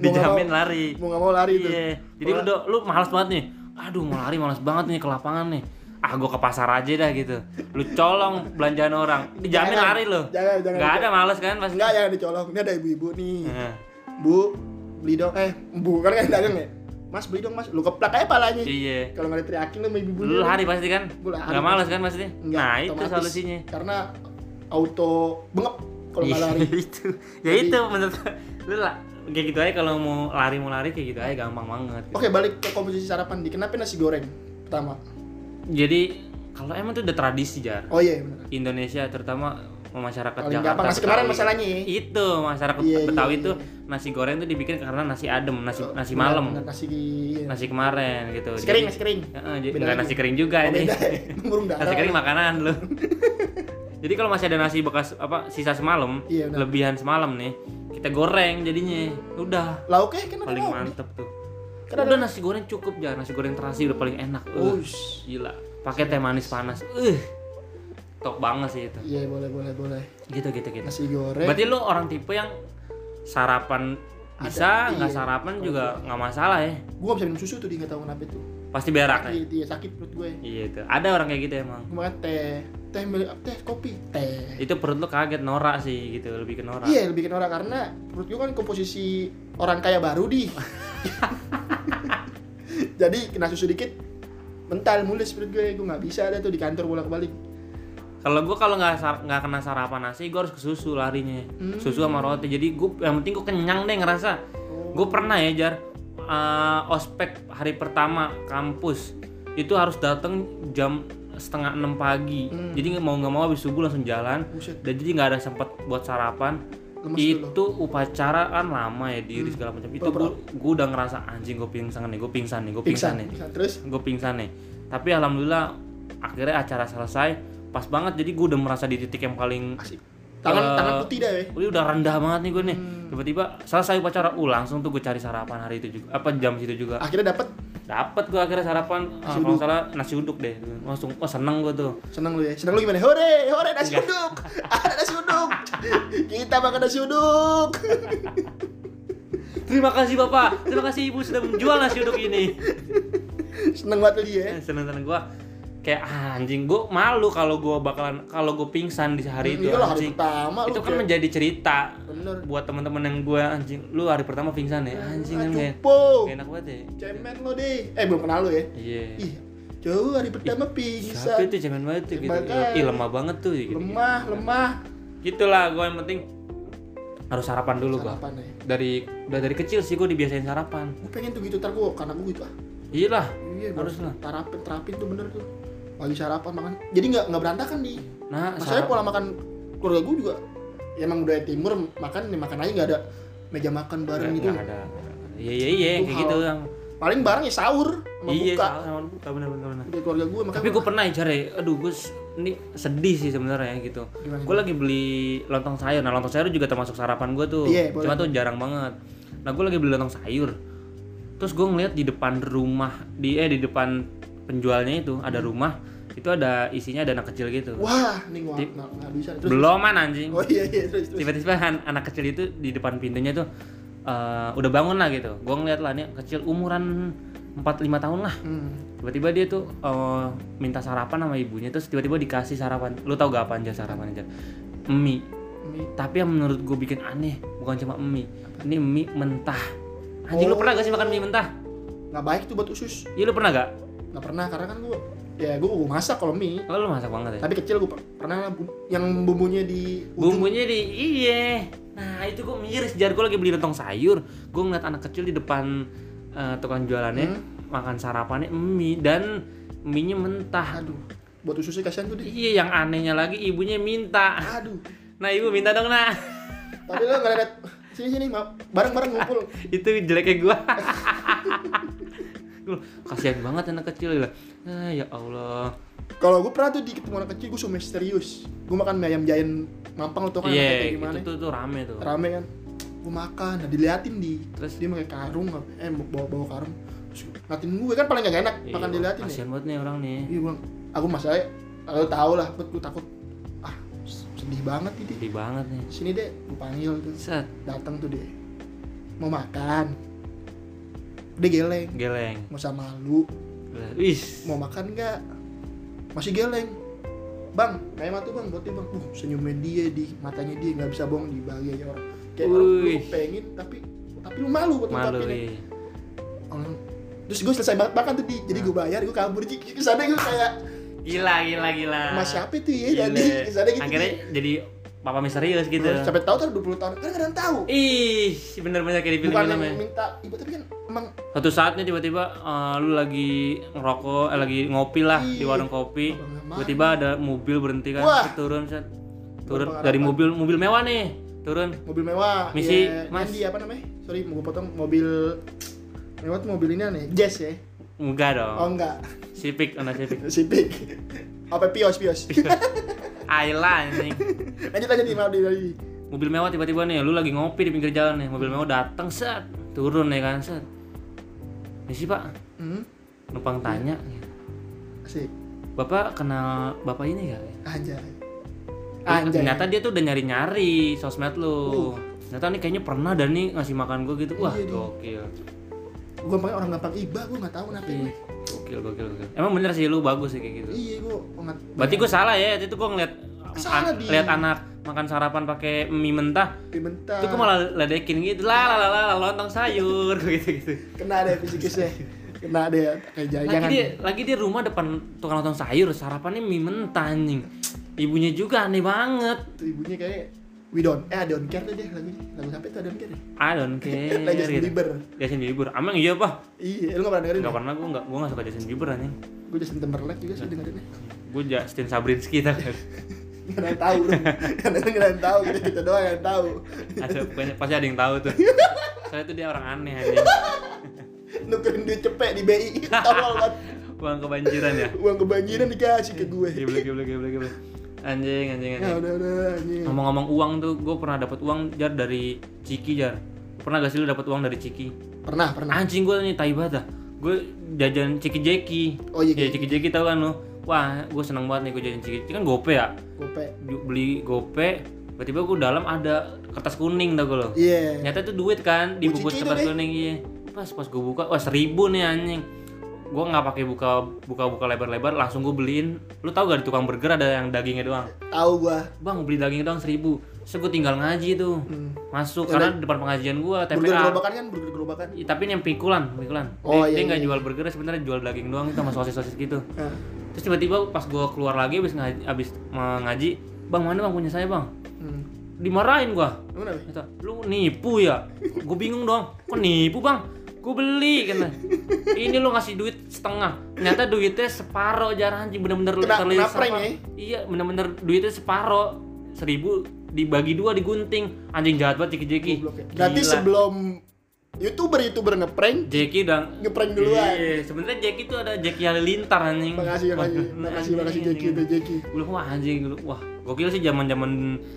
Speaker 1: Dijamin lari.
Speaker 2: mau nggak mau lari tuh
Speaker 1: Iya. Jadi lu do- lu malas banget nih. Aduh mau lari malas banget nih ke lapangan nih. Ah gua ke pasar aja dah gitu. Lu colong belanjaan orang. Dijamin
Speaker 2: Jangan,
Speaker 1: lari lu.
Speaker 2: jangan jangan
Speaker 1: Gak ada males kan pasti.
Speaker 2: enggak jangan dicolong ini ada ibu-ibu nih
Speaker 1: Nah,
Speaker 2: bu beli dong eh bu kan kan dagang ya mas beli dong mas lu keplak aja palanya
Speaker 1: Iya.
Speaker 2: kalau nggak diteriakin lu sama ibu-ibu
Speaker 1: Lu lari pasti kan?
Speaker 2: Gua lari
Speaker 1: Gak males kan pasti?
Speaker 2: Nggak,
Speaker 1: Nah, itu
Speaker 2: otomatis.
Speaker 1: solusinya.
Speaker 2: karena auto bengep kalau nggak
Speaker 1: Iya,
Speaker 2: lari
Speaker 1: itu. Ya
Speaker 2: Jadi-
Speaker 1: itu menurut lu lah kayak gitu aja kalau mau lari mau lari kayak gitu aja gampang banget.
Speaker 2: oke balik ke komposisi sarapan di kenapa nasi goreng pertama
Speaker 1: Jadi kalau emang tuh udah tradisi jar
Speaker 2: oh iya benar
Speaker 1: Indonesia terutama masyarakat
Speaker 2: paling
Speaker 1: Jakarta.
Speaker 2: gampang nasi kemarin
Speaker 1: Betawi.
Speaker 2: masalahnya ya
Speaker 1: Itu masyarakat
Speaker 2: Iya, iya,
Speaker 1: Betawi
Speaker 2: iya.
Speaker 1: itu nasi goreng tuh dibikin karena nasi adem, nasi
Speaker 2: Oh,
Speaker 1: nasi
Speaker 2: benar,
Speaker 1: malam,
Speaker 2: benar, nasi iya.
Speaker 1: nasi kemarin gitu.
Speaker 2: nasi kering
Speaker 1: Jadi-
Speaker 2: nasi kering
Speaker 1: Heeh, jadi
Speaker 2: Beda
Speaker 1: nggak
Speaker 2: lagi.
Speaker 1: nasi kering juga
Speaker 2: Oh,
Speaker 1: ini.
Speaker 2: beda ya. burung darah
Speaker 1: Nasi kering makanan lu. Jadi kalau masih ada nasi bekas apa sisa semalam,
Speaker 2: Iya, benar.
Speaker 1: lebihan semalam nih, kita goreng jadinya. Udah,
Speaker 2: lauknya kan ada
Speaker 1: paling
Speaker 2: lauk nih.
Speaker 1: mantep tuh.
Speaker 2: Kan ada-
Speaker 1: udah nasi goreng cukup ya, nasi goreng terasi udah paling enak. Uh,
Speaker 2: Ush.
Speaker 1: gila. Pakai teh manis panas. Uh. Top banget sih itu.
Speaker 2: iya boleh boleh boleh
Speaker 1: Gitu gitu gitu.
Speaker 2: nasi goreng
Speaker 1: Berarti lu orang tipe yang sarapan bisa,
Speaker 2: Eh. Ada,
Speaker 1: nggak
Speaker 2: iya.
Speaker 1: sarapan juga nggak masalah ya.
Speaker 2: gue gak bisa minum susu tuh dia nggak tahu kenapa itu
Speaker 1: Pasti berak ya.
Speaker 2: sakit iya sakit perut gue
Speaker 1: Iya itu. Ada orang kayak gitu emang.
Speaker 2: gue makan teh teh milik teh kopi teh
Speaker 1: Itu perut lu kaget norak sih gitu, lebih ke norak.
Speaker 2: iya lebih bikin orang karena perut gue kan komposisi orang kaya baru di jadi kena susu dikit mental mulus perut gue gue nggak bisa ada tuh di kantor bolak balik
Speaker 1: Kalau gue kalau nggak sar- nggak kena sarapan nasi, gue harus ke susu larinya.
Speaker 2: Hmm.
Speaker 1: Susu sama roti. Jadi gue yang penting gue kenyang deh ngerasa.
Speaker 2: Oh.
Speaker 1: Gue pernah ya jar eh, ospek hari pertama kampus itu harus datang jam setengah enam pagi.
Speaker 2: Hmm.
Speaker 1: Jadi nggak mau nggak mau habis subuh langsung jalan.
Speaker 2: Buset.
Speaker 1: Dan jadi nggak ada sempat buat sarapan.
Speaker 2: Lemes Hmm.
Speaker 1: itu upacara kan lama ya diri segala macam. Itu gue gue udah ngerasa anjing gue pingsan nih, gue pingsan nih, gue pingsan nih
Speaker 2: Pingsan. terus
Speaker 1: gue pingsan nih tapi alhamdulillah akhirnya acara selesai pas banget jadi gue udah merasa di titik yang paling
Speaker 2: asik
Speaker 1: Eh,
Speaker 2: tangan tangan Hmm. putih dah ya
Speaker 1: Wih, udah rendah banget nih gue nih tiba-tiba selesai upacara uh langsung tuh gue cari sarapan hari itu juga apa jam situ juga
Speaker 2: akhirnya dapat
Speaker 1: dapet gue akhirnya sarapan ah, kalau nggak salah nasi uduk deh langsung oh seneng gue tuh
Speaker 2: seneng lu ya seneng lu gimana hore hore nasi uduk ada nasi uduk kita makan nasi uduk
Speaker 1: terima kasih bapak terima kasih ibu sudah menjual nasi uduk ini
Speaker 2: seneng banget lu dia ya.
Speaker 1: seneng seneng gue Eh, kayak ah, anjing gue malu kalau gue bakalan kalau gue pingsan di hari itu
Speaker 2: Iya lah,
Speaker 1: anjing
Speaker 2: hari pertama lu
Speaker 1: itu kan
Speaker 2: kayak-
Speaker 1: menjadi cerita
Speaker 2: bener
Speaker 1: buat teman-teman yang gue anjing lu hari pertama pingsan ya
Speaker 2: Hmm,
Speaker 1: anjing kan kayak
Speaker 2: Cupo.
Speaker 1: kayak enak banget ya
Speaker 2: Cemen lo deh. Eh belum kenal lo ya?
Speaker 1: iya
Speaker 2: Ih, jauh hari pertama
Speaker 1: siapa
Speaker 2: pingsan.
Speaker 1: itu cemen banget tuh gitu
Speaker 2: Makanya.
Speaker 1: ih lemah banget tuh gitu.
Speaker 2: Lemah, lemah.
Speaker 1: gitulah gue yang penting harus sarapan dulu gue
Speaker 2: Sarapan ya.
Speaker 1: dari udah dari kecil sih gue dibiasain sarapan
Speaker 2: Gue pengen tuh gitu ntar gue karena gue gitu ah.
Speaker 1: iyalah
Speaker 2: Iya,
Speaker 1: Harus lah.
Speaker 2: Terapin, terapin tuh bener tuh. Pagi sarapan makan. Jadi nggak nggak berantakan di.
Speaker 1: nah
Speaker 2: Masalahnya
Speaker 1: sarapan
Speaker 2: pola makan keluarga gue juga ya, emang budaya timur makan nih makan aja nggak ada meja makan bareng gitu.
Speaker 1: Eh, nggak ada iya iya iya kayak
Speaker 2: Itu hal-
Speaker 1: gitu yang
Speaker 2: Paling bareng ya sahur sama
Speaker 1: iya
Speaker 2: buka.
Speaker 1: sama sama buka bener bener bener
Speaker 2: Budaya keluarga gue makanya
Speaker 1: tapi gue pernah ya cari aduh gue s- ini sedih sih sebenarnya gitu
Speaker 2: Gimana?
Speaker 1: gue lagi beli lontong sayur nah lontong sayur juga termasuk sarapan gue tuh
Speaker 2: Iya, boleh.
Speaker 1: cuma tuh jarang banget nah gue lagi beli lontong sayur terus gue ngeliat di depan rumah di eh di depan penjualnya itu ada rumah itu ada isinya ada anak kecil gitu
Speaker 2: Hmm. wah nih gue nggak nggak bisa terus.
Speaker 1: beloman anjing
Speaker 2: Oh iya iya terus terus.
Speaker 1: tiba-tiba an- anak kecil itu di depan pintunya tuh eh, udah bangun lah gitu gue ngeliat lah ini kecil umuran 4-5 tahun lah
Speaker 2: Hmm.
Speaker 1: tiba-tiba dia tuh eh, minta sarapan sama ibunya terus tiba-tiba dikasih sarapan lu tau gak apa aja sarapan aja mie
Speaker 2: Ini
Speaker 1: tapi yang menurut gue bikin aneh bukan cuma mie ini mie mentah anjing lu
Speaker 2: Oh.
Speaker 1: pernah gak sih makan mie mentah
Speaker 2: nggak baik tuh buat usus
Speaker 1: iya lu pernah gak
Speaker 2: nggak pernah karena kan gue ya gue masak kalau mie
Speaker 1: Oh, lu masak banget ya?
Speaker 2: tapi kecil gue pernah lah bu- yang bumbunya di ujung
Speaker 1: Bumbunya di iya. Nah, itu gue miris jar gue lagi beli lontong sayur. Gue ngeliat anak kecil di depan eh, tukang jualannya
Speaker 2: Hmm?
Speaker 1: makan sarapannya mie dan mie-nya mentah.
Speaker 2: aduh buat ususnya kasihan tuh deh
Speaker 1: Iya, yang anehnya lagi ibunya minta.
Speaker 2: aduh
Speaker 1: Nah, ibu minta dong, Nak.
Speaker 2: tapi lo nggak ada sini sini maaf bareng bareng ngumpul
Speaker 1: itu jeleknya gua Gua, kasihan banget anak kecil gila. ah, ya Allah
Speaker 2: kalau gue pernah tuh di ketemu anak kecil gue so misterius gue makan mie ayam jayan mampang lo tau kan anaknya
Speaker 1: iya
Speaker 2: kayak gimana
Speaker 1: itu tuh, tuh rame tuh
Speaker 2: rame kan gue makan nah diliatin di
Speaker 1: Terus?
Speaker 2: terus dia pakai karung apa- eh bawa bawa karung terus ngatin gue kan paling gak enak
Speaker 1: Iya,
Speaker 2: makan diliatin ya
Speaker 1: kasihan banget nih orang nih
Speaker 2: iya gue aku masalahnya kalau tau lah gue takut ah sedih banget ini
Speaker 1: sedih banget nih
Speaker 2: sini deh gue panggil tuh
Speaker 1: set
Speaker 2: datang tuh dia mau makan dia geleng
Speaker 1: geleng
Speaker 2: mau sama malu
Speaker 1: wih
Speaker 2: mau makan nggak masih geleng bang kayak mati bang buat dia bang uh senyumnya dia di matanya dia nggak bisa bohong di bahagia orang kayak orang lu
Speaker 1: Wih.
Speaker 2: pengen tapi tapi lu malu buat
Speaker 1: malu iya.
Speaker 2: ungkapinnya.
Speaker 1: ih.
Speaker 2: Orang- terus gue selesai makan, makan tuh di jadi gue bayar gue kabur jadi kesana gue kayak
Speaker 1: gila gila gila
Speaker 2: mas siapa itu
Speaker 1: Gile.
Speaker 2: ya tadi kesana gitu
Speaker 1: akhirnya jadi papa misterius gitu
Speaker 2: Terus sampai tahu tuh 20 tahun kan kadang tahu
Speaker 1: ih bener-bener kayak di
Speaker 2: bukan
Speaker 1: film-film ya
Speaker 2: yang minta ibu tapi kan emang
Speaker 1: satu saatnya tiba-tiba eh, lu lagi ngerokok eh, lagi ngopi lah di warung kopi
Speaker 2: Abang nggak mau.
Speaker 1: tiba-tiba ada mobil berhenti kan
Speaker 2: Wah.
Speaker 1: set, turun set. turun
Speaker 2: Berpengharapan.
Speaker 1: dari mobil mobil mewah nih turun
Speaker 2: mobil mewah
Speaker 1: Misi,
Speaker 2: ya,
Speaker 1: Mas.
Speaker 2: Yang di apa namanya sorry mau gue potong mobil mewah tuh mobil ini aneh jazz ya
Speaker 1: enggak dong
Speaker 2: oh enggak
Speaker 1: Civic anak Civic
Speaker 2: Civic. Apa pios pios.
Speaker 1: Ayla anjing
Speaker 2: lanjut lanjut nih maaf dari
Speaker 1: mobil mewah tiba-tiba nih lu lagi ngopi di pinggir jalan nih mobil mewah datang set turun nih kan set misi pak
Speaker 2: Hmm,
Speaker 1: numpang tanya
Speaker 2: asik.
Speaker 1: bapak kenal bapak ini gak
Speaker 2: Anjay.
Speaker 1: Terus
Speaker 2: Anjay. Uh.
Speaker 1: ternyata dia tuh udah nyari-nyari sosmed lu. Ternyata nih kayaknya pernah dan nih ngasih makan gue gitu. Wah,
Speaker 2: Iya, dia.
Speaker 1: gokil.
Speaker 2: Gue pengen orang gampang iba, gue nggak tahu kenapa.
Speaker 1: Iya.
Speaker 2: gue.
Speaker 1: Gokil, gokil, gokil. Emang bener sih lu bagus sih kayak gitu.
Speaker 2: Iya, gue nggak.
Speaker 1: Berarti gue salah ya, waktu itu gue ngeliat
Speaker 2: Salah,
Speaker 1: an-
Speaker 2: Di.
Speaker 1: lihat anak makan sarapan pakai mie mentah.
Speaker 2: Pimentar.
Speaker 1: Itu gue malah ledekin gitu. Lah, lah, lah, lah, lah, lontong sayur Gitu, gitu-gitu.
Speaker 2: Kena deh fisikisnya. Kena deh kayak jangan.
Speaker 1: Lagi dia lagi dia rumah depan tukang lontong sayur, sarapannya mie mentah anjing. Ibunya juga aneh banget.
Speaker 2: Tuh, ibunya kayak we don't eh I don't care deh lagu lagu sampai itu I don't care. deh.
Speaker 1: I don't care.
Speaker 2: Lagi Justin
Speaker 1: gitu.
Speaker 2: Bieber.
Speaker 1: Justin Bieber. Emang iya, Pak.
Speaker 2: Iya, lu nggak pernah dengerin?
Speaker 1: Enggak pernah gue enggak gue enggak suka Justin Bieber anjing.
Speaker 2: Gue Justin Timberlake juga sih dengerinnya.
Speaker 1: Gue Justin Sabrinski tau kan.
Speaker 2: Nggak ada yang tahu, lu. Karena nggak ada yang tahu, kita kita doang yang tahu.
Speaker 1: Ada pokoknya pasti ada yang tahu tuh. Soalnya tuh dia orang aneh anjing.
Speaker 2: Nukerin duit cepet di BI, tolol banget.
Speaker 1: Uang kebanjiran ya.
Speaker 2: uang kebanjiran dikasih ke gue
Speaker 1: Geblek geblek geblek geblek. Anjing anjing
Speaker 2: ya
Speaker 1: anjing.
Speaker 2: udah udah anjing
Speaker 1: Ngomong-ngomong uang tuh gue pernah dapat uang jar dari Ciki jar. Pernah gak sih lu dapat uang dari Ciki?
Speaker 2: pernah pernah
Speaker 1: Anjing gue nih tai banget dah. Gue jajan Ciki Jeki.
Speaker 2: Oh, iya,
Speaker 1: Ya, Ciki Jeki tau kan lu. Wah, gue seneng banget nih gue jajan Ciki. Itu kan gope ya.
Speaker 2: gope
Speaker 1: Beli gope, tiba-tiba gue dalam ada kertas kuning tau gue lo.
Speaker 2: iya
Speaker 1: Ternyata itu duit kan dibungkus
Speaker 2: Bucici
Speaker 1: kertas
Speaker 2: itu deh.
Speaker 1: kuning iya. Pas pas gue buka, wah seribu nih anjing. Gue nggak pakai buka buka buka lebar-lebar, langsung gue beliin. Lu tau gak di tukang burger ada yang dagingnya doang.
Speaker 2: tahu gue
Speaker 1: Bang beli daging doang seribu. Terus gue tinggal ngaji tuh,
Speaker 2: Hmm.
Speaker 1: masuk karena depan pengajian gue
Speaker 2: burger
Speaker 1: TPA.
Speaker 2: gerobakan kan burger gerobakan
Speaker 1: Iya, tapi ini yang pikulan, pikulan.
Speaker 2: Oh,
Speaker 1: dia
Speaker 2: iya,
Speaker 1: dia nggak
Speaker 2: iya.
Speaker 1: jual burger, sebenarnya jual daging doang itu sama sosis-sosis gitu.
Speaker 2: Nah,
Speaker 1: Terus tiba-tiba pas gue keluar lagi abis ngaji, abis mengaji, bang mana bang punya saya bang?
Speaker 2: hmm.
Speaker 1: Dimarahin gue.
Speaker 2: Lu kenapa?
Speaker 1: Kata, lu nipu ya? Gue bingung dong, kok nipu bang? Gue beli, kata Ini lu ngasih duit setengah Ternyata duitnya separoh jarang anjing Bener-bener lu
Speaker 2: Kena-
Speaker 1: terlilit
Speaker 2: kena prank
Speaker 1: sama-
Speaker 2: ya?
Speaker 1: Iya, bener-bener duitnya separoh Seribu dibagi dua digunting Anjing jahat banget Jeki-Jeki
Speaker 2: Goblok ya. berarti
Speaker 1: Gila.
Speaker 2: sebelum youtuber youtuber ngeprank
Speaker 1: Jeki udah
Speaker 2: ngeprank duluan
Speaker 1: Iya, sebenarnya Jeki tuh ada Jeki Halilintar anjing
Speaker 2: makasih
Speaker 1: Wah,
Speaker 2: makasih makasih makasih
Speaker 1: anjing,
Speaker 2: Jeki udah Jeki
Speaker 1: Gue wah anjing lu wah gokil sih zaman-zaman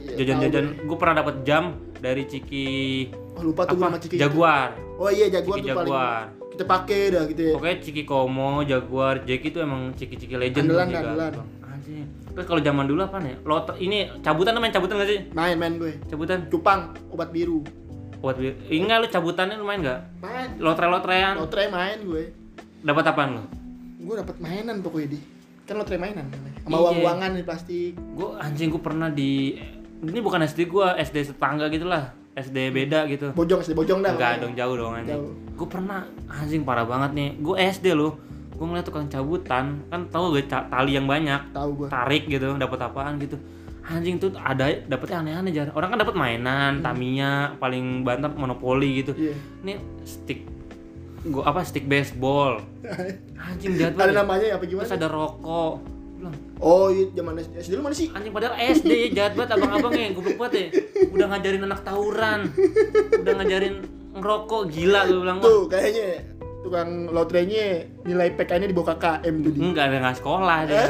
Speaker 2: Iya,
Speaker 1: jajan-jajan gue pernah dapat jam dari Ciki
Speaker 2: oh lupa tuh gue
Speaker 1: apa
Speaker 2: sama Ciki
Speaker 1: Jaguar
Speaker 2: oh iya jaguar
Speaker 1: Ciki
Speaker 2: tuh paling
Speaker 1: Jaguar. Oh,
Speaker 2: kita pakai dah gitu ya
Speaker 1: Pokoknya Ciki Komo, Jaguar, Jack itu emang ciki-ciki legend
Speaker 2: Andalan,
Speaker 1: tuh, Giga.
Speaker 2: andalan.
Speaker 1: Anjing. Terus kalau zaman dulu apa nih? Loter ini cabutan namanya cabutan gak sih?
Speaker 2: main main gue
Speaker 1: Cabutan.
Speaker 2: cupang obat biru
Speaker 1: Buat ingat lu cabutannya lu main gak?
Speaker 2: main
Speaker 1: Lotre-lotrean
Speaker 2: lotre main gue
Speaker 1: dapat apaan lu?
Speaker 2: gue dapat mainan pokoknya di kan lotre mainan namanya. sama
Speaker 1: Iya.
Speaker 2: uang-uangan di plastik
Speaker 1: Gua anjing gua pernah di ini bukan SD gua, SD tetangga gitu lah. SD beda gitu.
Speaker 2: bojong sih bojong dah
Speaker 1: Enggak
Speaker 2: pokoknya.
Speaker 1: dong jauh dong anjing.
Speaker 2: Jauh.
Speaker 1: Gue pernah anjing parah banget nih. Gue SD loh. gue ngeliat tukang cabutan kan tahu gue ca- tali yang banyak
Speaker 2: tahu gua
Speaker 1: tarik gitu dapat apaan gitu anjing tuh ada dapetnya aneh-aneh jar orang kan dapat mainan Tamiya paling bantap monopoli gitu
Speaker 2: Hmm. iya
Speaker 1: ini stick gua apa stick baseball anjing jahat
Speaker 2: ada
Speaker 1: banget ya.
Speaker 2: namanya ya, apa gimana
Speaker 1: terus ada rokok Gua bilang,
Speaker 2: oh iya zaman SD dulu mana sih
Speaker 1: anjing padahal SD ya jahat banget abang-abang ya goblok banget ya udah ngajarin anak tawuran udah ngajarin ngerokok gila gue bilang wah
Speaker 2: tuh kayaknya tukang lotrenya nilai PK-nya di bawah KKM tuh di
Speaker 1: enggak ada nggak sekolah dia
Speaker 2: Eh?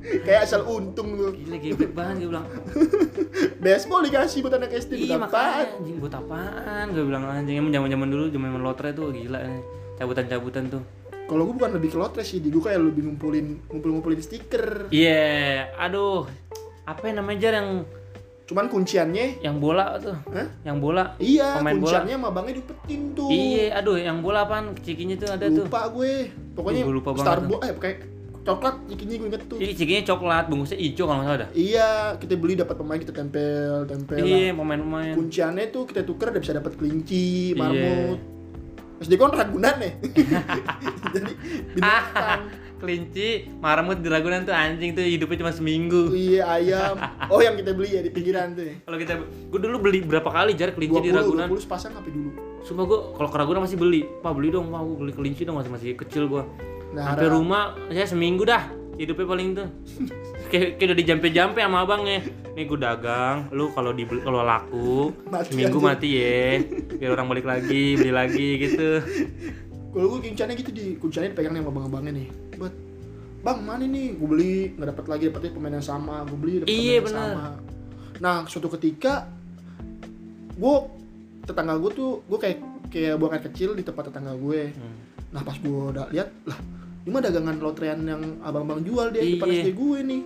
Speaker 1: Hmm.
Speaker 2: kayak asal untung tuh
Speaker 1: gila gebet banget gue bilang
Speaker 2: baseball dikasih buat anak SD
Speaker 1: Iya
Speaker 2: buat apaan
Speaker 1: makanya anjing buat apaan? Gue bilang anjing emang zaman-zaman dulu zaman lotre tuh gila eh. cabutan-cabutan tuh.
Speaker 2: kalau gua bukan lebih ke lotre sih di gua kayak lebih ngumpulin ngumpul ngumpulin stiker
Speaker 1: Iya, aduh. Apa yang namanya Jar, yang
Speaker 2: cuman kunciannya
Speaker 1: yang bola tuh?
Speaker 2: Hah?
Speaker 1: Yang bola.
Speaker 2: iya
Speaker 1: Pemain bola.
Speaker 2: kunciannya sama bangnya diumpetin tuh
Speaker 1: Iya, aduh yang bola apaan? Cikinya tuh ada tuh.
Speaker 2: lupa gue pokoknya
Speaker 1: Ih, gua lupa banget
Speaker 2: Starbucks eh kayak coklat ikinya gue inget tuh
Speaker 1: Jadi cikinya coklat, bungkusnya hijau kalau nggak salah dah.
Speaker 2: iya kita beli dapat pemain kita tempel tempel lah.
Speaker 1: Iya, pemain-pemain.
Speaker 2: kunciannya tuh kita tuker udah bisa dapat kelinci
Speaker 1: Iya.
Speaker 2: marmut SD gue orang ragunan nih ya? jadi binatang
Speaker 1: Kelinci, marmut di Ragunan tuh anjing tuh hidupnya cuma seminggu.
Speaker 2: iya ayam oh yang kita beli ya di pinggiran tuh ya
Speaker 1: Kalau kita gue dulu beli berapa kali jar kelinci
Speaker 2: dua
Speaker 1: di Ragunan?
Speaker 2: puluh sepasang apa dulu
Speaker 1: Sumpah gue kalau ke Ragunan masih beli. Pak beli dong, pak gue beli kelinci dong masih masih kecil gue.
Speaker 2: Nah,
Speaker 1: Sampai
Speaker 2: Ra.
Speaker 1: rumah saya seminggu dah hidupnya paling tuh. Kayak kayak udah dijampe-jampe sama abangnya. Nih gue dagang, lu kalau di kalau laku
Speaker 2: Mati
Speaker 1: seminggu
Speaker 2: aja.
Speaker 1: mati ya. Biar orang balik lagi, beli lagi gitu.
Speaker 2: kalau gue kunciannya gitu di kunciannya dipegang nih sama abang-abangnya nih buat bang mana nih gue beli nggak dapat lagi dapetnya pemain yang sama gue beli dapet
Speaker 1: Iya,
Speaker 2: pemain yang
Speaker 1: bener.
Speaker 2: sama nah suatu ketika gue tetangga gue tuh gue kayak kayak buang air kecil di tempat tetangga gue
Speaker 1: Hmm.
Speaker 2: nah pas gue udah lihat lah ini mah dagangan lotrean yang abang-abang jual dia di depan
Speaker 1: Iya.
Speaker 2: SD gue nih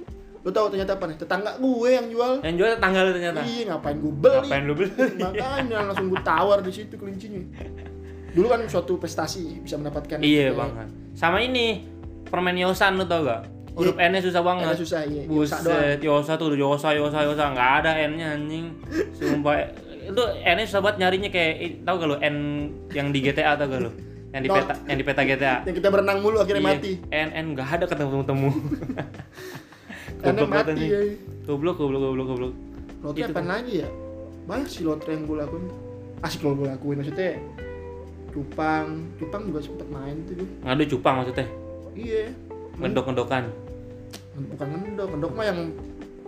Speaker 2: lo tau ternyata apa nih tetangga gue yang jual
Speaker 1: Yang jual tetangga lu ternyata.
Speaker 2: iya ngapain gue beli
Speaker 1: Nah. Ngapain lu beli?
Speaker 2: makanya langsung gue tawar di situ kelincinya dulu kan suatu prestasi bisa mendapatkan
Speaker 1: iya
Speaker 2: eh,
Speaker 1: banget. Sama ini permen yosan lu tau gak? Huruf N-nya susah
Speaker 2: Karena
Speaker 1: banget.
Speaker 2: susah iya. Yosa doang.
Speaker 1: Buset, Yosa tuh Yosa, Yosa, Yosa nggak ada N-nya anjing. Sumpah itu N-nya susah banget nyarinya kayak i- tahu gak lu N yang di GTA tau gak lu? Yang di
Speaker 2: Not.
Speaker 1: peta yang di peta GTA.
Speaker 2: Yang kita berenang mulu akhirnya
Speaker 1: Iya,
Speaker 2: mati.
Speaker 1: N N nggak ada ketemu-temu.
Speaker 2: Karena
Speaker 1: Goblok banget
Speaker 2: mati
Speaker 1: anjing.
Speaker 2: ya.
Speaker 1: Goblok, goblok, goblok, goblok.
Speaker 2: Lotre
Speaker 1: Gitu
Speaker 2: apa lagi ya? Banyak sih lotre yang gue lakuin. Asik kalau gue lakuin maksudnya. Cupang, cupang juga sempet main tuh gue.
Speaker 1: Ngadu cupang maksudnya.
Speaker 2: Iya.
Speaker 1: Ngedok-ngedokan.
Speaker 2: Bukan ngendok, ngendok mah yang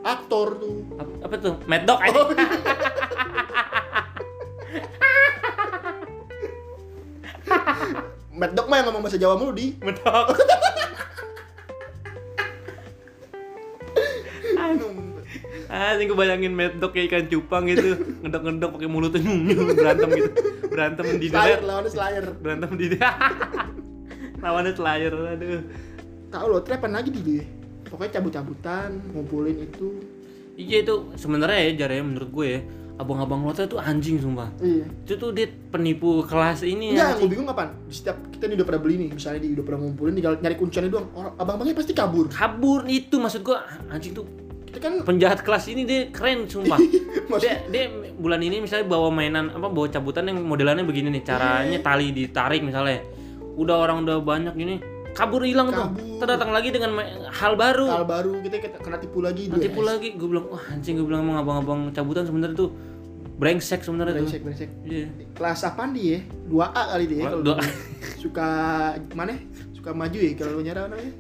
Speaker 2: aktor tuh.
Speaker 1: Ap- Apa tuh? Mad dog anjing.
Speaker 2: Oh. Mad Dog mah yang ngomong bahasa Jawa mulu di.
Speaker 1: Mad dog. Ah, Anjing gue bayangin Mad Dog kayak ikan cupang gitu Ngedok-ngedok pakai mulutnya Berantem gitu Berantem di
Speaker 2: Slayer
Speaker 1: deret
Speaker 2: lawannya Slayer.
Speaker 1: berantem di lawannya selayar aduh
Speaker 2: Tahu lotre apa lagi di gue? Pokoknya cabut-cabutan, ngumpulin itu.
Speaker 1: iya itu sebenarnya ya jaranya menurut gue ya abang-abang lotre tuh anjing sumpah
Speaker 2: Iya.
Speaker 1: itu tuh dia penipu kelas ini
Speaker 2: Enggak,
Speaker 1: ya
Speaker 2: yang gue bingung apaan? Di setiap kita nih udah pernah beli nih, misalnya di udah pernah ngumpulin, tinggal nyari kunciannya doang. Orang abang-abangnya pasti kabur.
Speaker 1: kabur itu maksud gue anjing tuh
Speaker 2: Kita kan
Speaker 1: penjahat kelas ini dia keren sumpah
Speaker 2: maksudnya
Speaker 1: dia, dia bulan ini misalnya bawa mainan apa bawa cabutan yang modelannya begini nih caranya tali ditarik misalnya udah orang udah banyak gini kabur hilang tuh
Speaker 2: Kabur.
Speaker 1: Ntar datang lagi dengan ma- hal baru
Speaker 2: hal baru kita kita kena tipu lagi
Speaker 1: nanti pula
Speaker 2: pula
Speaker 1: lagi gue bilang wah anjing gue bilang emang abang-abang cabutan sebenarnya tuh brengsek sebenarnya tuh
Speaker 2: Brengsek, brengsek.
Speaker 1: iya
Speaker 2: Kelas apaan dia? 2A kali dia
Speaker 1: Wah,
Speaker 2: kalau gitu.
Speaker 1: dua-
Speaker 2: dulu. suka mana? Suka maju ya kalau nyara namanya.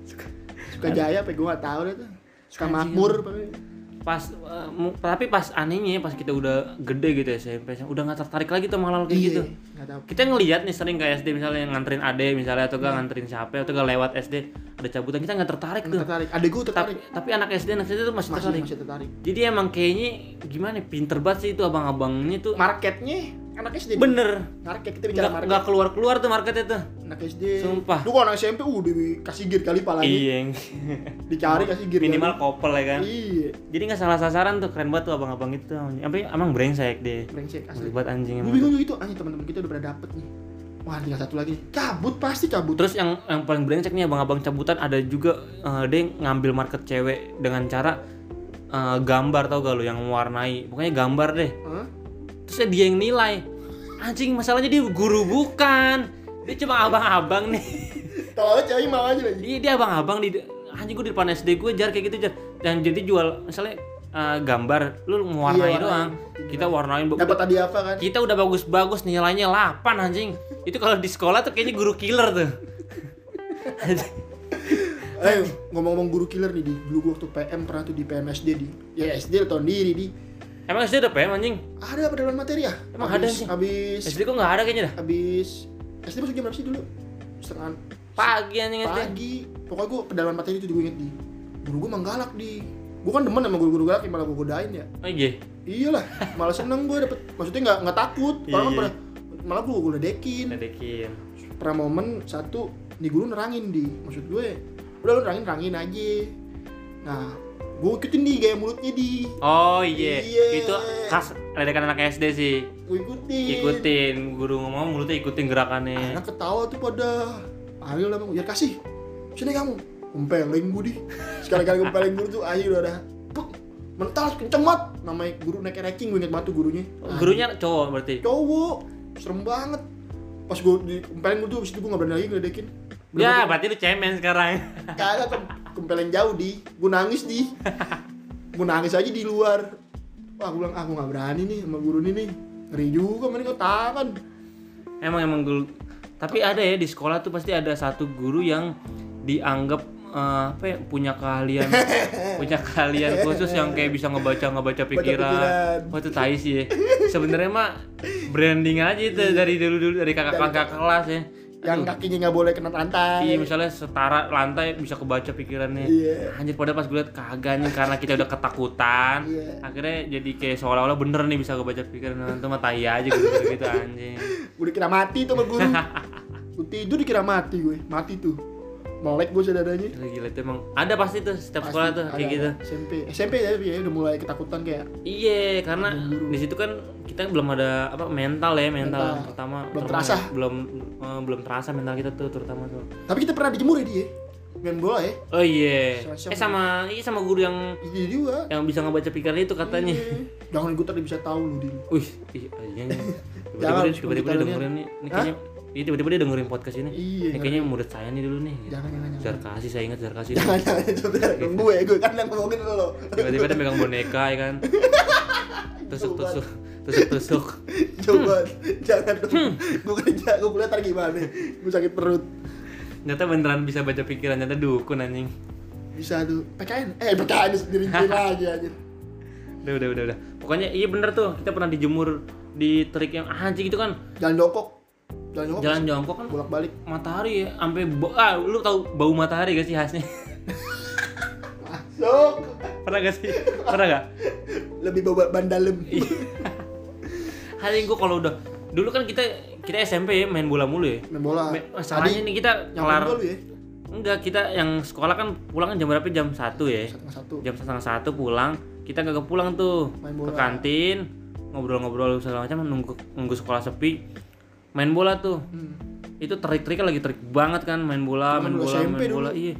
Speaker 2: Suka jaya apa gue gak tahu deh tuh. Suka
Speaker 1: Anjing.
Speaker 2: makmur apa namanya.
Speaker 1: pas eh, mu- tapi pas anehnya pas kita udah gede gitu ya SMP udah nggak tertarik lagi tuh malah kayak
Speaker 2: Iya,
Speaker 1: gitu
Speaker 2: Gak tahu.
Speaker 1: kita ngelihat nih sering kayak SD misalnya nganterin ade misalnya atau gak
Speaker 2: Iya.
Speaker 1: nganterin siapa atau gak lewat SD ada cabutan kita nggak tertarik
Speaker 2: Yang
Speaker 1: tuh
Speaker 2: tertarik. Ada gue
Speaker 1: tapi
Speaker 2: tertarik.
Speaker 1: tapi anak SD anak SD tuh masih
Speaker 2: Masih
Speaker 1: tertarik
Speaker 2: masih tertarik.
Speaker 1: jadi emang kayaknya gimana ya, pinter banget sih itu abang-abangnya tuh
Speaker 2: Marketnya anak SD.
Speaker 1: bener
Speaker 2: Market kita bicara
Speaker 1: nggak
Speaker 2: Iya. market.
Speaker 1: nggak keluar keluar tuh marketnya tuh
Speaker 2: Anak SD.
Speaker 1: Sumpah.
Speaker 2: Lu kalau anak SMP udah dikasih gear kali palanya.
Speaker 1: iya
Speaker 2: Dicari kasih gear.
Speaker 1: minimal kopel ya kan
Speaker 2: kali. Iya.
Speaker 1: jadi nggak salah sasaran tuh keren banget tuh abang-abang itu sampai emang brengsek deh
Speaker 2: Brengsek asli.
Speaker 1: Brengsek banget anjing
Speaker 2: Gue
Speaker 1: emang.
Speaker 2: bingung juga itu, anjing teman-teman kita udah pernah dapet nih. Wah, tinggal satu lagi. Cabut pasti cabut.
Speaker 1: Terus yang yang paling brengsek nih abang-abang cabutan ada juga eh, dia ngambil market cewek dengan cara eh, gambar tau gak lo yang mewarnai. Pokoknya gambar deh.
Speaker 2: Hah?
Speaker 1: Terus dia yang nilai. Anjing masalahnya dia guru bukan. Dia cuma abang-abang nih.
Speaker 2: Kalau cewek mau aja lagi.
Speaker 1: Iya dia abang-abang di anjing gue di depan SD gue jar kayak gitu jar. Dan jadi jual misalnya eh, gambar lu mewarnai
Speaker 2: Iya, warnain.
Speaker 1: doang. Kita warnain ba-
Speaker 2: Dapat tadi apa kan?
Speaker 1: kita udah bagus-bagus nilainya 8 anjing. Itu kalau di sekolah tuh kayaknya guru killer tuh.
Speaker 2: Eh, ngomong-ngomong guru killer nih di dulu gua waktu PM pernah tuh di PMSD di ya SD tahun diri di
Speaker 1: Emang SD ada PM anjing?
Speaker 2: ada apa dalam materi ya?
Speaker 1: Emang ada
Speaker 2: habis,
Speaker 1: sih.
Speaker 2: Habis
Speaker 1: SD kok nggak ada kayaknya dah.
Speaker 2: habis SD masuk jam berapa sih dulu? Setengah
Speaker 1: Pagi anjing SD.
Speaker 2: pagi. Pokoknya gua pendalaman materi itu gue inget di. Guru gua menggalak di. Gua kan demen sama guru-guru galak yang malah gua godain ya.
Speaker 1: Oh iya.
Speaker 2: Iyalah, malah seneng gua dapet. Maksudnya nggak nggak takut. Malah
Speaker 1: Iya.
Speaker 2: pernah malah gua goledekin.
Speaker 1: Ledekin.
Speaker 2: pernah momen satu nih guru nerangin di maksud gue udah lu nerangin nerangin aja nah gue ikutin di gaya mulutnya di
Speaker 1: Oh iya.
Speaker 2: Iya.
Speaker 1: Itu khas ledekan anak SD sih.
Speaker 2: gue ikutin
Speaker 1: Ikutin guru ngomong mulutnya ikutin gerakannya.
Speaker 2: anak ketawa tuh pada ayo lah bang biar kasih sini kamu Kumpelin gue di sekali-kali kumpelin guru tuh ayo udah udah Puk, mental kenceng banget namanya guru naik ranking gue inget banget tuh gurunya Nah,
Speaker 1: Oh, Gurunya cowok berarti.
Speaker 2: cowok serem banget pas gue di kumpelin gue tuh abis itu gue gak berani lagi ngeledekin
Speaker 1: Ya, berarti lu cemen sekarang.
Speaker 2: kagak tem kempeleng jauh di gue nangis di gue nangis aja di luar wah gue bilang ah gue nggak berani nih sama guru ini nih ngeri juga mending kau tangan
Speaker 1: Emang emang guru. Tapi ada ya di sekolah tuh pasti ada satu guru yang dianggap eh, apa ya, punya keahlian punya keahlian khusus yang kayak bisa ngebaca ngebaca
Speaker 2: pikiran.
Speaker 1: pikiran. Wah itu tai sih ya. Sebenarnya mah branding aja itu dari dulu dulu dari kakak kakak kelas ya.
Speaker 2: yang kakinya nggak boleh kena
Speaker 1: Iya
Speaker 2: lantai
Speaker 1: misalnya setara lantai bisa kebaca pikirannya.
Speaker 2: Iya.
Speaker 1: Anjir pada pas gue liat kagak nih karena kita udah ketakutan.
Speaker 2: Iya.
Speaker 1: Akhirnya jadi kayak seolah-olah bener nih bisa kebaca pikiran orang tuh mah tai aja gitu gitu anjing.
Speaker 2: gue dikira mati tuh sama guru gue tidur dikira mati gue mati tuh melek gue saudaranya
Speaker 1: Gila, gila itu emang ada pasti tuh setiap sekolah tuh kayak gitu.
Speaker 2: SMP SMP ya, ya udah mulai ketakutan kayak
Speaker 1: Iya, karena di situ kan kita belum ada apa mental ya, mental,
Speaker 2: Mental.
Speaker 1: pertama
Speaker 2: Belum
Speaker 1: terutama
Speaker 2: terasa.
Speaker 1: belum eh, belum terasa mental kita tuh terutama tuh.
Speaker 2: tapi kita pernah dijemur ya dia main bola ya
Speaker 1: Oh iya.
Speaker 2: Sama-sama.
Speaker 1: Eh sama iya sama guru yang
Speaker 2: jadi juga
Speaker 1: yang bisa ngebaca pikiran itu katanya.
Speaker 2: Iya. jangan gue tadi bisa tahu lu di
Speaker 1: Wih, ih, anjing. Tiba-tiba
Speaker 2: Jangan,
Speaker 1: dia- tiba-tiba dia
Speaker 2: kita
Speaker 1: dengerin nih, ini kayaknya Iya tiba-tiba dia dengerin podcast ini.
Speaker 2: Iya,
Speaker 1: Ini kayaknya murid saya nih dulu nih. Gitu.
Speaker 2: jangan jangan jangan
Speaker 1: Zar kasih saya ingat zar kasih.
Speaker 2: jangan jangan itu bener. gue gue kan yang ngomongin lu lo
Speaker 1: Tiba-tiba dia megang boneka ya kan. Tusuk-tusuk, tusuk-tusuk.
Speaker 2: coba
Speaker 1: Hmm.
Speaker 2: jangan dong gue kerja gue kuliah ntar gimana gue sakit perut
Speaker 1: Ternyata beneran bisa baca pikiran, ternyata dukun anjing.
Speaker 2: bisa tuh PKN eh PKN sendiri lagi aja
Speaker 1: Udah, udah, udah, udah. Pokoknya iya bener tuh, kita pernah dijemur di terik yang ah, anjing itu kan.
Speaker 2: jalan jongkok jalan jongkok
Speaker 1: Jalan jongkok kan
Speaker 2: bolak balik
Speaker 1: matahari ya, sampai bau ah, lu tahu bau matahari gak sih khasnya?
Speaker 2: masuk
Speaker 1: pernah gak sih? Pernah gak?
Speaker 2: lebih bawa ban dalam
Speaker 1: Iya. Hari gue kalau udah dulu kan kita kita SMP ya main bola mulu ya.
Speaker 2: main bola
Speaker 1: Me- Masalahnya nih kita
Speaker 2: Ah, nyamperin
Speaker 1: kelar
Speaker 2: gua lu ya
Speaker 1: enggak kita yang sekolah kan pulang kan jam berapa jam satu ya
Speaker 2: satu satu
Speaker 1: jam setengah satu pulang kita kagak pulang tuh
Speaker 2: Main
Speaker 1: ke
Speaker 2: bola.
Speaker 1: kantin ngobrol-ngobrol segala macam nunggu nunggu sekolah sepi main bola tuh
Speaker 2: Hmm.
Speaker 1: itu terik-teriknya lagi terik banget kan main bola main
Speaker 2: Zaman dulu
Speaker 1: bola
Speaker 2: SMP
Speaker 1: main bola iya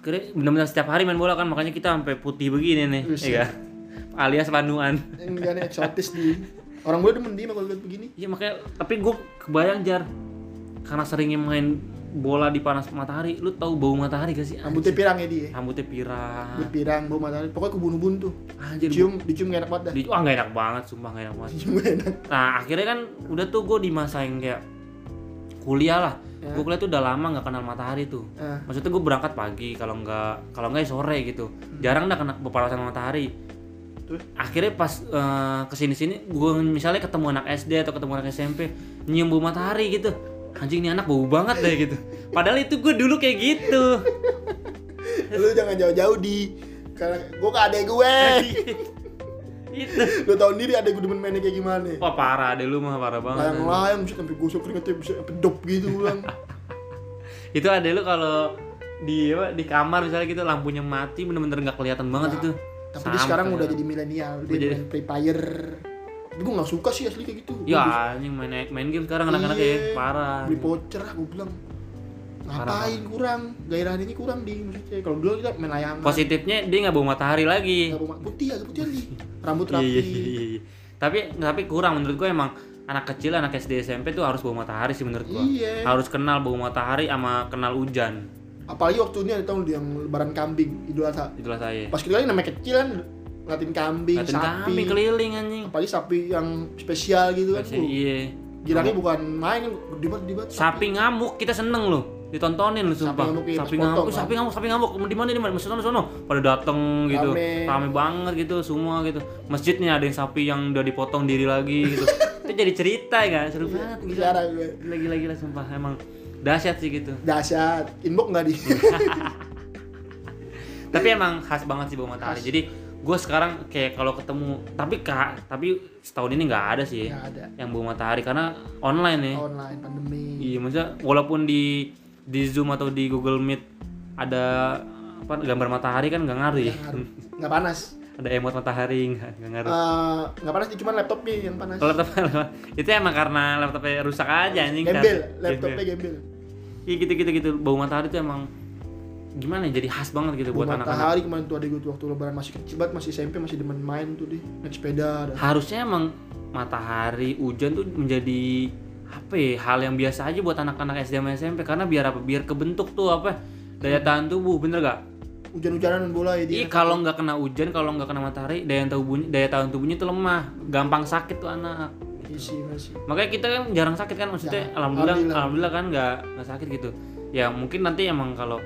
Speaker 1: akhirnya benar-benar setiap hari main bola kan makanya kita sampai putih begini nih
Speaker 2: Buset.
Speaker 1: iya alias panduan
Speaker 2: enggak nih eksotis di orang gue demen dia kalau lihat begini
Speaker 1: Iya makanya tapi gue kebayang jar karena seringnya main bola di panas matahari, lu tahu bau matahari gak sih? Anjing.
Speaker 2: rambutnya pirang ya dia
Speaker 1: Rambutnya pirang.
Speaker 2: rambut pirang bau matahari pokoknya kebun-bun tuh
Speaker 1: Anjir. gua-
Speaker 2: dicium dicium gak enak banget dah
Speaker 1: Di, wah gak enak banget, sumpah gak enak banget.
Speaker 2: dicium gak enak
Speaker 1: Nah akhirnya kan udah tuh gue di masa yang kayak kuliah lah.
Speaker 2: Ya.
Speaker 1: Gue kuliah tuh udah lama nggak kenal matahari tuh.
Speaker 2: Ah.
Speaker 1: Maksudnya gue berangkat pagi kalau nggak kalau nggak ya sore gitu. Jarang dah kena berpapasan sama matahari.
Speaker 2: Hmm. Terus?
Speaker 1: Akhirnya pas eh, kesini-sini gue misalnya ketemu anak SD atau ketemu anak SMP nyium bau matahari gitu. Anjing nih anak bau banget deh gitu. Padahal itu gue dulu kayak gitu.
Speaker 2: lu jangan jauh-jauh di karena gue ke adek gue
Speaker 1: itu.
Speaker 2: lu tau sendiri adek gue demen mainnya kayak gimana
Speaker 1: Gitu. Wah parah deh lu mah parah banget.
Speaker 2: layang-layang bisa sampai gosok keringetnya bisa sampai dop gitu ulang
Speaker 1: itu ada lu kalau di apa, di kamar misalnya gitu lampunya mati bener-bener nggak kelihatan banget
Speaker 2: Nah.
Speaker 1: itu
Speaker 2: tapi dia
Speaker 1: Sama
Speaker 2: sekarang
Speaker 1: kayak-
Speaker 2: udah jadi milenial dia
Speaker 1: Udah ya. jadi-
Speaker 2: main free fire tapi gue gak suka sih asli kayak gitu
Speaker 1: ya anjing main main game sekarang anak-anak ya
Speaker 2: Iya.
Speaker 1: parah
Speaker 2: beli voucher lah gue bilang ngapain kurang gairah ini kurang di maksudnya kalau dulu kita main layangan
Speaker 1: positifnya dia nggak bau matahari lagi
Speaker 2: Iya, Nggak mau ma- putih agak putih lagi rambut
Speaker 1: iya
Speaker 2: rapi
Speaker 1: iya iya iya. tapi tapi kurang menurut gue emang anak kecil anak SD SMP tuh harus bau matahari sih menurut gua
Speaker 2: Iya.
Speaker 1: harus kenal bau matahari sama kenal hujan
Speaker 2: apalagi waktu ini ada tahun yang lebaran kambing idul adha
Speaker 1: itulah saya
Speaker 2: pas kita kan namanya kecil kan ngeliatin kambing
Speaker 1: Ngeliatin
Speaker 2: sapi Iya.
Speaker 1: kami keliling anjing
Speaker 2: apalagi sapi yang spesial gitu kan Bu.
Speaker 1: iya
Speaker 2: Gilanya bukan main kan gede banget gede banget.
Speaker 1: sapi ngamuk kita seneng loh ditontonin loh sumpah
Speaker 2: ngamuk, iya,
Speaker 1: sapi
Speaker 2: pas
Speaker 1: ngamuk
Speaker 2: potong,
Speaker 1: sapi ngamuk sapi ngamuk di mana di mana masjid sono sono pada dateng gitu
Speaker 2: Rame.
Speaker 1: rame banget gitu semua gitu masjidnya ada yang sapi yang udah dipotong diri lagi gitu itu jadi cerita ya kan seru banget
Speaker 2: Iya, Gila,
Speaker 1: gila
Speaker 2: Jarang gue.
Speaker 1: gila gila, gila sumpah emang dahsyat sih gitu
Speaker 2: Dahsyat. Inbox nggak di?
Speaker 1: Iya, tapi emang khas banget sih bau matahari
Speaker 2: Iya. Khas.
Speaker 1: jadi gue sekarang kayak kalau ketemu tapi kak tapi setahun ini nggak ada sih
Speaker 2: Nggak ada.
Speaker 1: yang bau matahari karena online ya
Speaker 2: Online pandemi.
Speaker 1: Iya, maksudnya walaupun di di Zoom atau di Google Meet ada apa gambar matahari kan nggak ngaruh ya.
Speaker 2: Nggak ngaruh. Nggak panas.
Speaker 1: ada emot matahari nggak nggak ngaruh.
Speaker 2: Eh, Nggak panas sih cuma laptopnya yang panas.
Speaker 1: Kalau laptop itu emang karena laptopnya rusak aja anjing. kan.
Speaker 2: Gembel, laptopnya gembel.
Speaker 1: Iya gitu-gitu gitu. Bau matahari itu emang gimana ya? Jadi khas banget gitu
Speaker 2: Buat
Speaker 1: buat anak-anak.
Speaker 2: matahari kemarin tuh ada gue tuh waktu lebaran masih kecil banget masih SMP masih demen main tuh deh naik sepeda dan
Speaker 1: Harusnya emang matahari, hujan tuh menjadi apa ya, hal yang biasa aja buat anak-anak SD sama SMP karena biar apa? Biar kebentuk tuh apa? daya tahan tubuh, bener gak?
Speaker 2: hujan-hujanan dan bola ya dia.
Speaker 1: Iya kalau nggak kena hujan, kalau nggak kena matahari, daya tahan tubuhnya, daya tahan tubuhnya itu lemah, gampang sakit tuh anak.
Speaker 2: Isi masih.
Speaker 1: Makanya kita kan jarang sakit kan maksudnya,
Speaker 2: Jarang.
Speaker 1: alhamdulillah, alhamdulillah,
Speaker 2: Alhamdulillah.
Speaker 1: kan nggak nggak sakit gitu. Ya mungkin nanti emang kalau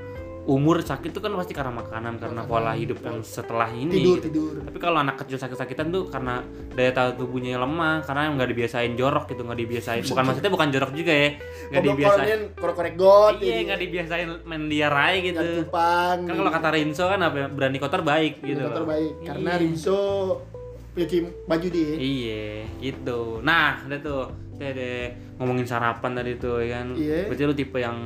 Speaker 1: umur sakit itu kan pasti karena makanan, karena pola hidup yang setelah ini.
Speaker 2: Tidur
Speaker 1: gitu.
Speaker 2: tidur.
Speaker 1: Tapi kalau anak kecil sakit-sakitan tuh karena daya tahan tubuhnya lemah, karena nggak dibiasain jorok gitu, nggak dibiasain. Bukan maksudnya bukan jorok juga ya, nggak dibiasain.
Speaker 2: Kalau korek-korek got,
Speaker 1: Iya, nggak dibiasain main liarai gitu.
Speaker 2: Nyari cupang.
Speaker 1: Kan kalau kata Rinso kan apa ya, berani kotor baik gitu. loh.
Speaker 2: Kotor baik karena
Speaker 1: Iya.
Speaker 2: Rinso cuci baju dia.
Speaker 1: Iya, gitu. Nah, udah tuh. Dede ngomongin sarapan tadi tuh ya kan.
Speaker 2: Iya.
Speaker 1: Berarti lu tipe yang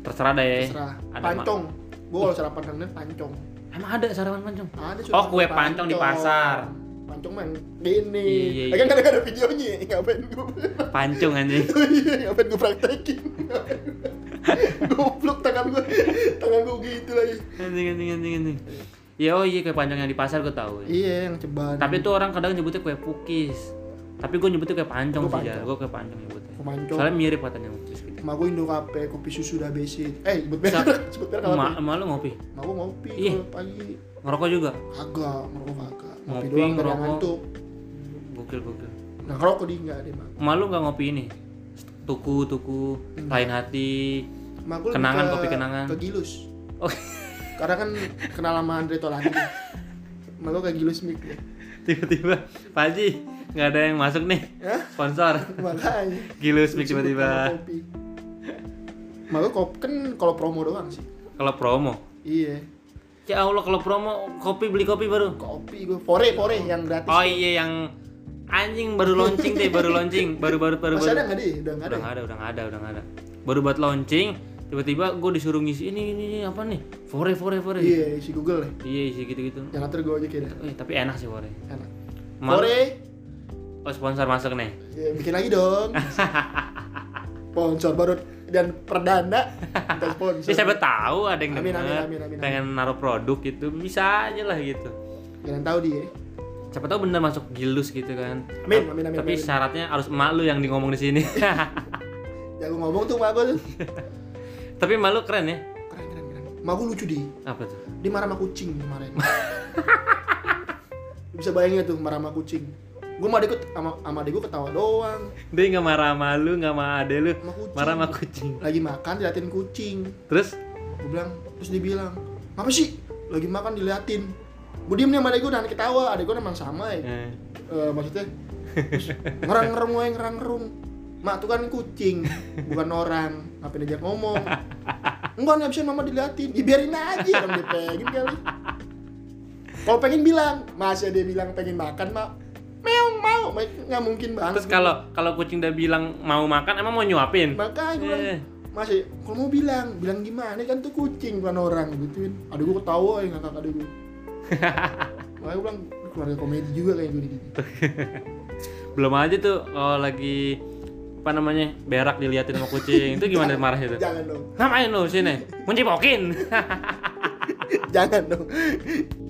Speaker 1: terserah deh. ya?
Speaker 2: Terserah.
Speaker 1: Ada
Speaker 2: pancong. Gue kalau sarapan kangen pancong.
Speaker 1: ma- Emang ada sarapan pancong?
Speaker 2: Ada
Speaker 1: Oh, kue pancong di pasar.
Speaker 2: Pancong mah yang ini.
Speaker 1: Iya,
Speaker 2: Eh, kan kadang ada videonya, ngapain gue?
Speaker 1: Pancong anjing.
Speaker 2: Iya, ngapain gue praktekin? Goblok tangan gue, tangan gue gitu lagi.
Speaker 1: Anjing anjing anjing anjing. Ya oh iya kue pancong yang di pasar gue tahu. ya.
Speaker 2: Iya, yang ceban.
Speaker 1: Tapi tuh orang kadang nyebutnya kue pukis. Tapi gue nyebutnya kue pancong
Speaker 2: Kue
Speaker 1: sih ya.
Speaker 2: pancong.
Speaker 1: Gue kue pancong nyebutnya.
Speaker 2: Kue pancong.
Speaker 1: Soalnya mirip katanya pukis gitu.
Speaker 2: Emak gue Indo Kafe, kopi susu dah basic. Eh, sebut
Speaker 1: Sa- Iya.
Speaker 2: merek, sebut merek apa?
Speaker 1: Ma, ma lu ngopi?
Speaker 2: Emak gue ngopi
Speaker 1: Ih.
Speaker 2: kalau pagi.
Speaker 1: Ngerokok juga?
Speaker 2: Agak, merokok agak. Ngopi
Speaker 1: Ngopi,
Speaker 2: doang, kadang
Speaker 1: ngerokok.
Speaker 2: ngantuk.
Speaker 1: Gokil gokil.
Speaker 2: Nah, ngerokok dia enggak deh, Mak.
Speaker 1: Malu nggak ngopi ini? Tuku-tuku, lain hati.
Speaker 2: Emak gue lebih
Speaker 1: Kenangan,
Speaker 2: ke-
Speaker 1: kopi kenangan.
Speaker 2: Ke Gilus.
Speaker 1: Oh,
Speaker 2: Karena kan kenal sama Andre Tolani. Emak gue ke Gilus Mik. ya.
Speaker 1: tiba-tiba Pak Haji nggak ada yang masuk nih
Speaker 2: Hah?
Speaker 1: sponsor.
Speaker 2: Makanya.
Speaker 1: Gilus Mik tiba-tiba.
Speaker 2: Malu kop kan kalau promo doang sih.
Speaker 1: Kalau promo.
Speaker 2: Iya.
Speaker 1: Ya Allah kalau promo kopi beli kopi baru.
Speaker 2: Kopi gue fore fore yang gratis.
Speaker 1: Oh iya yang anjing baru launching deh, baru launching, baru baru baru
Speaker 2: Masih
Speaker 1: baru.
Speaker 2: ada nggak deh? Udah nggak ada.
Speaker 1: Udah nggak ada, udah nggak ada, udah nggak ada. Baru buat launching, tiba-tiba gue disuruh ngisi ini ini, ini apa nih? Fore fore fore.
Speaker 2: Iya si Google deh.
Speaker 1: Iya sih gitu-gitu.
Speaker 2: Yang atur gue aja kira.
Speaker 1: Eh, tapi enak sih fore.
Speaker 2: Enak.
Speaker 1: Mal-
Speaker 2: Fore.
Speaker 1: Oh sponsor masuk nih.
Speaker 2: Ya, bikin lagi dong. sponsor baru dan perdana kita sponsor.
Speaker 1: Ya, siapa tahu ada yang
Speaker 2: Amin, amin,
Speaker 1: denger,
Speaker 2: amin, amin, amin.
Speaker 1: pengen naruh produk gitu bisa aja lah gitu
Speaker 2: Jangan tahu ya. dia.
Speaker 1: siapa tahu bener masuk gilus gitu kan
Speaker 2: Amin, amin, amin,
Speaker 1: tapi
Speaker 2: amin.
Speaker 1: syaratnya harus emak lu yang di ngomong di sini
Speaker 2: Jago Ya, ngomong tuh mak gue tuh.
Speaker 1: tapi emak lu keren ya
Speaker 2: Keren keren keren. Mak gue lucu deh.
Speaker 1: apa tuh
Speaker 2: Dia marah sama kucing kemarin. Lu bisa bayangin tuh marah sama kucing. Gue sama adek gua- sama sama adek gue ketawa doang.
Speaker 1: dia nggak marah sama lu nggak sama ade lu
Speaker 2: Sama kucing.
Speaker 1: marah sama kucing
Speaker 2: Lagi makan diliatin kucing.
Speaker 1: terus
Speaker 2: Gue bilang, terus dia bilang, "Apa sih? Lagi makan diliatin." Gue diem nih sama adek gue nahan ketawa. Adek gue emang sama ya.
Speaker 1: eh,
Speaker 2: Eh, maksudnya ngerang-ngerung wae ngerang-ngerung. Mak tuh kan kucing, bukan orang. Ngapain diajak ngomong? Enggak nih abisnya mama diliatin. Ya, biarin aja orang dia pengen kali. Kalau pengen bilang, masih dia bilang pengen makan, Mak. Meong mau, Mak, nggak mungkin banget.
Speaker 1: terus kalau kalau kucing udah bilang mau makan emang mau nyuapin
Speaker 2: Makanya gue bilang,
Speaker 1: Eh.
Speaker 2: masih kalau mau bilang, bilang gimana kan tuh kucing bukan orang gituin. Aduh gue ketawa ya ngakak aduh gue. Makanya gue bilang keluarga komedi juga kayak gini.
Speaker 1: belum aja tuh kalau lagi apa namanya berak diliatin sama kucing itu gimana marahnya tuh
Speaker 2: Jangan dong,
Speaker 1: ngapain lu sini mencipokin
Speaker 2: jangan dong.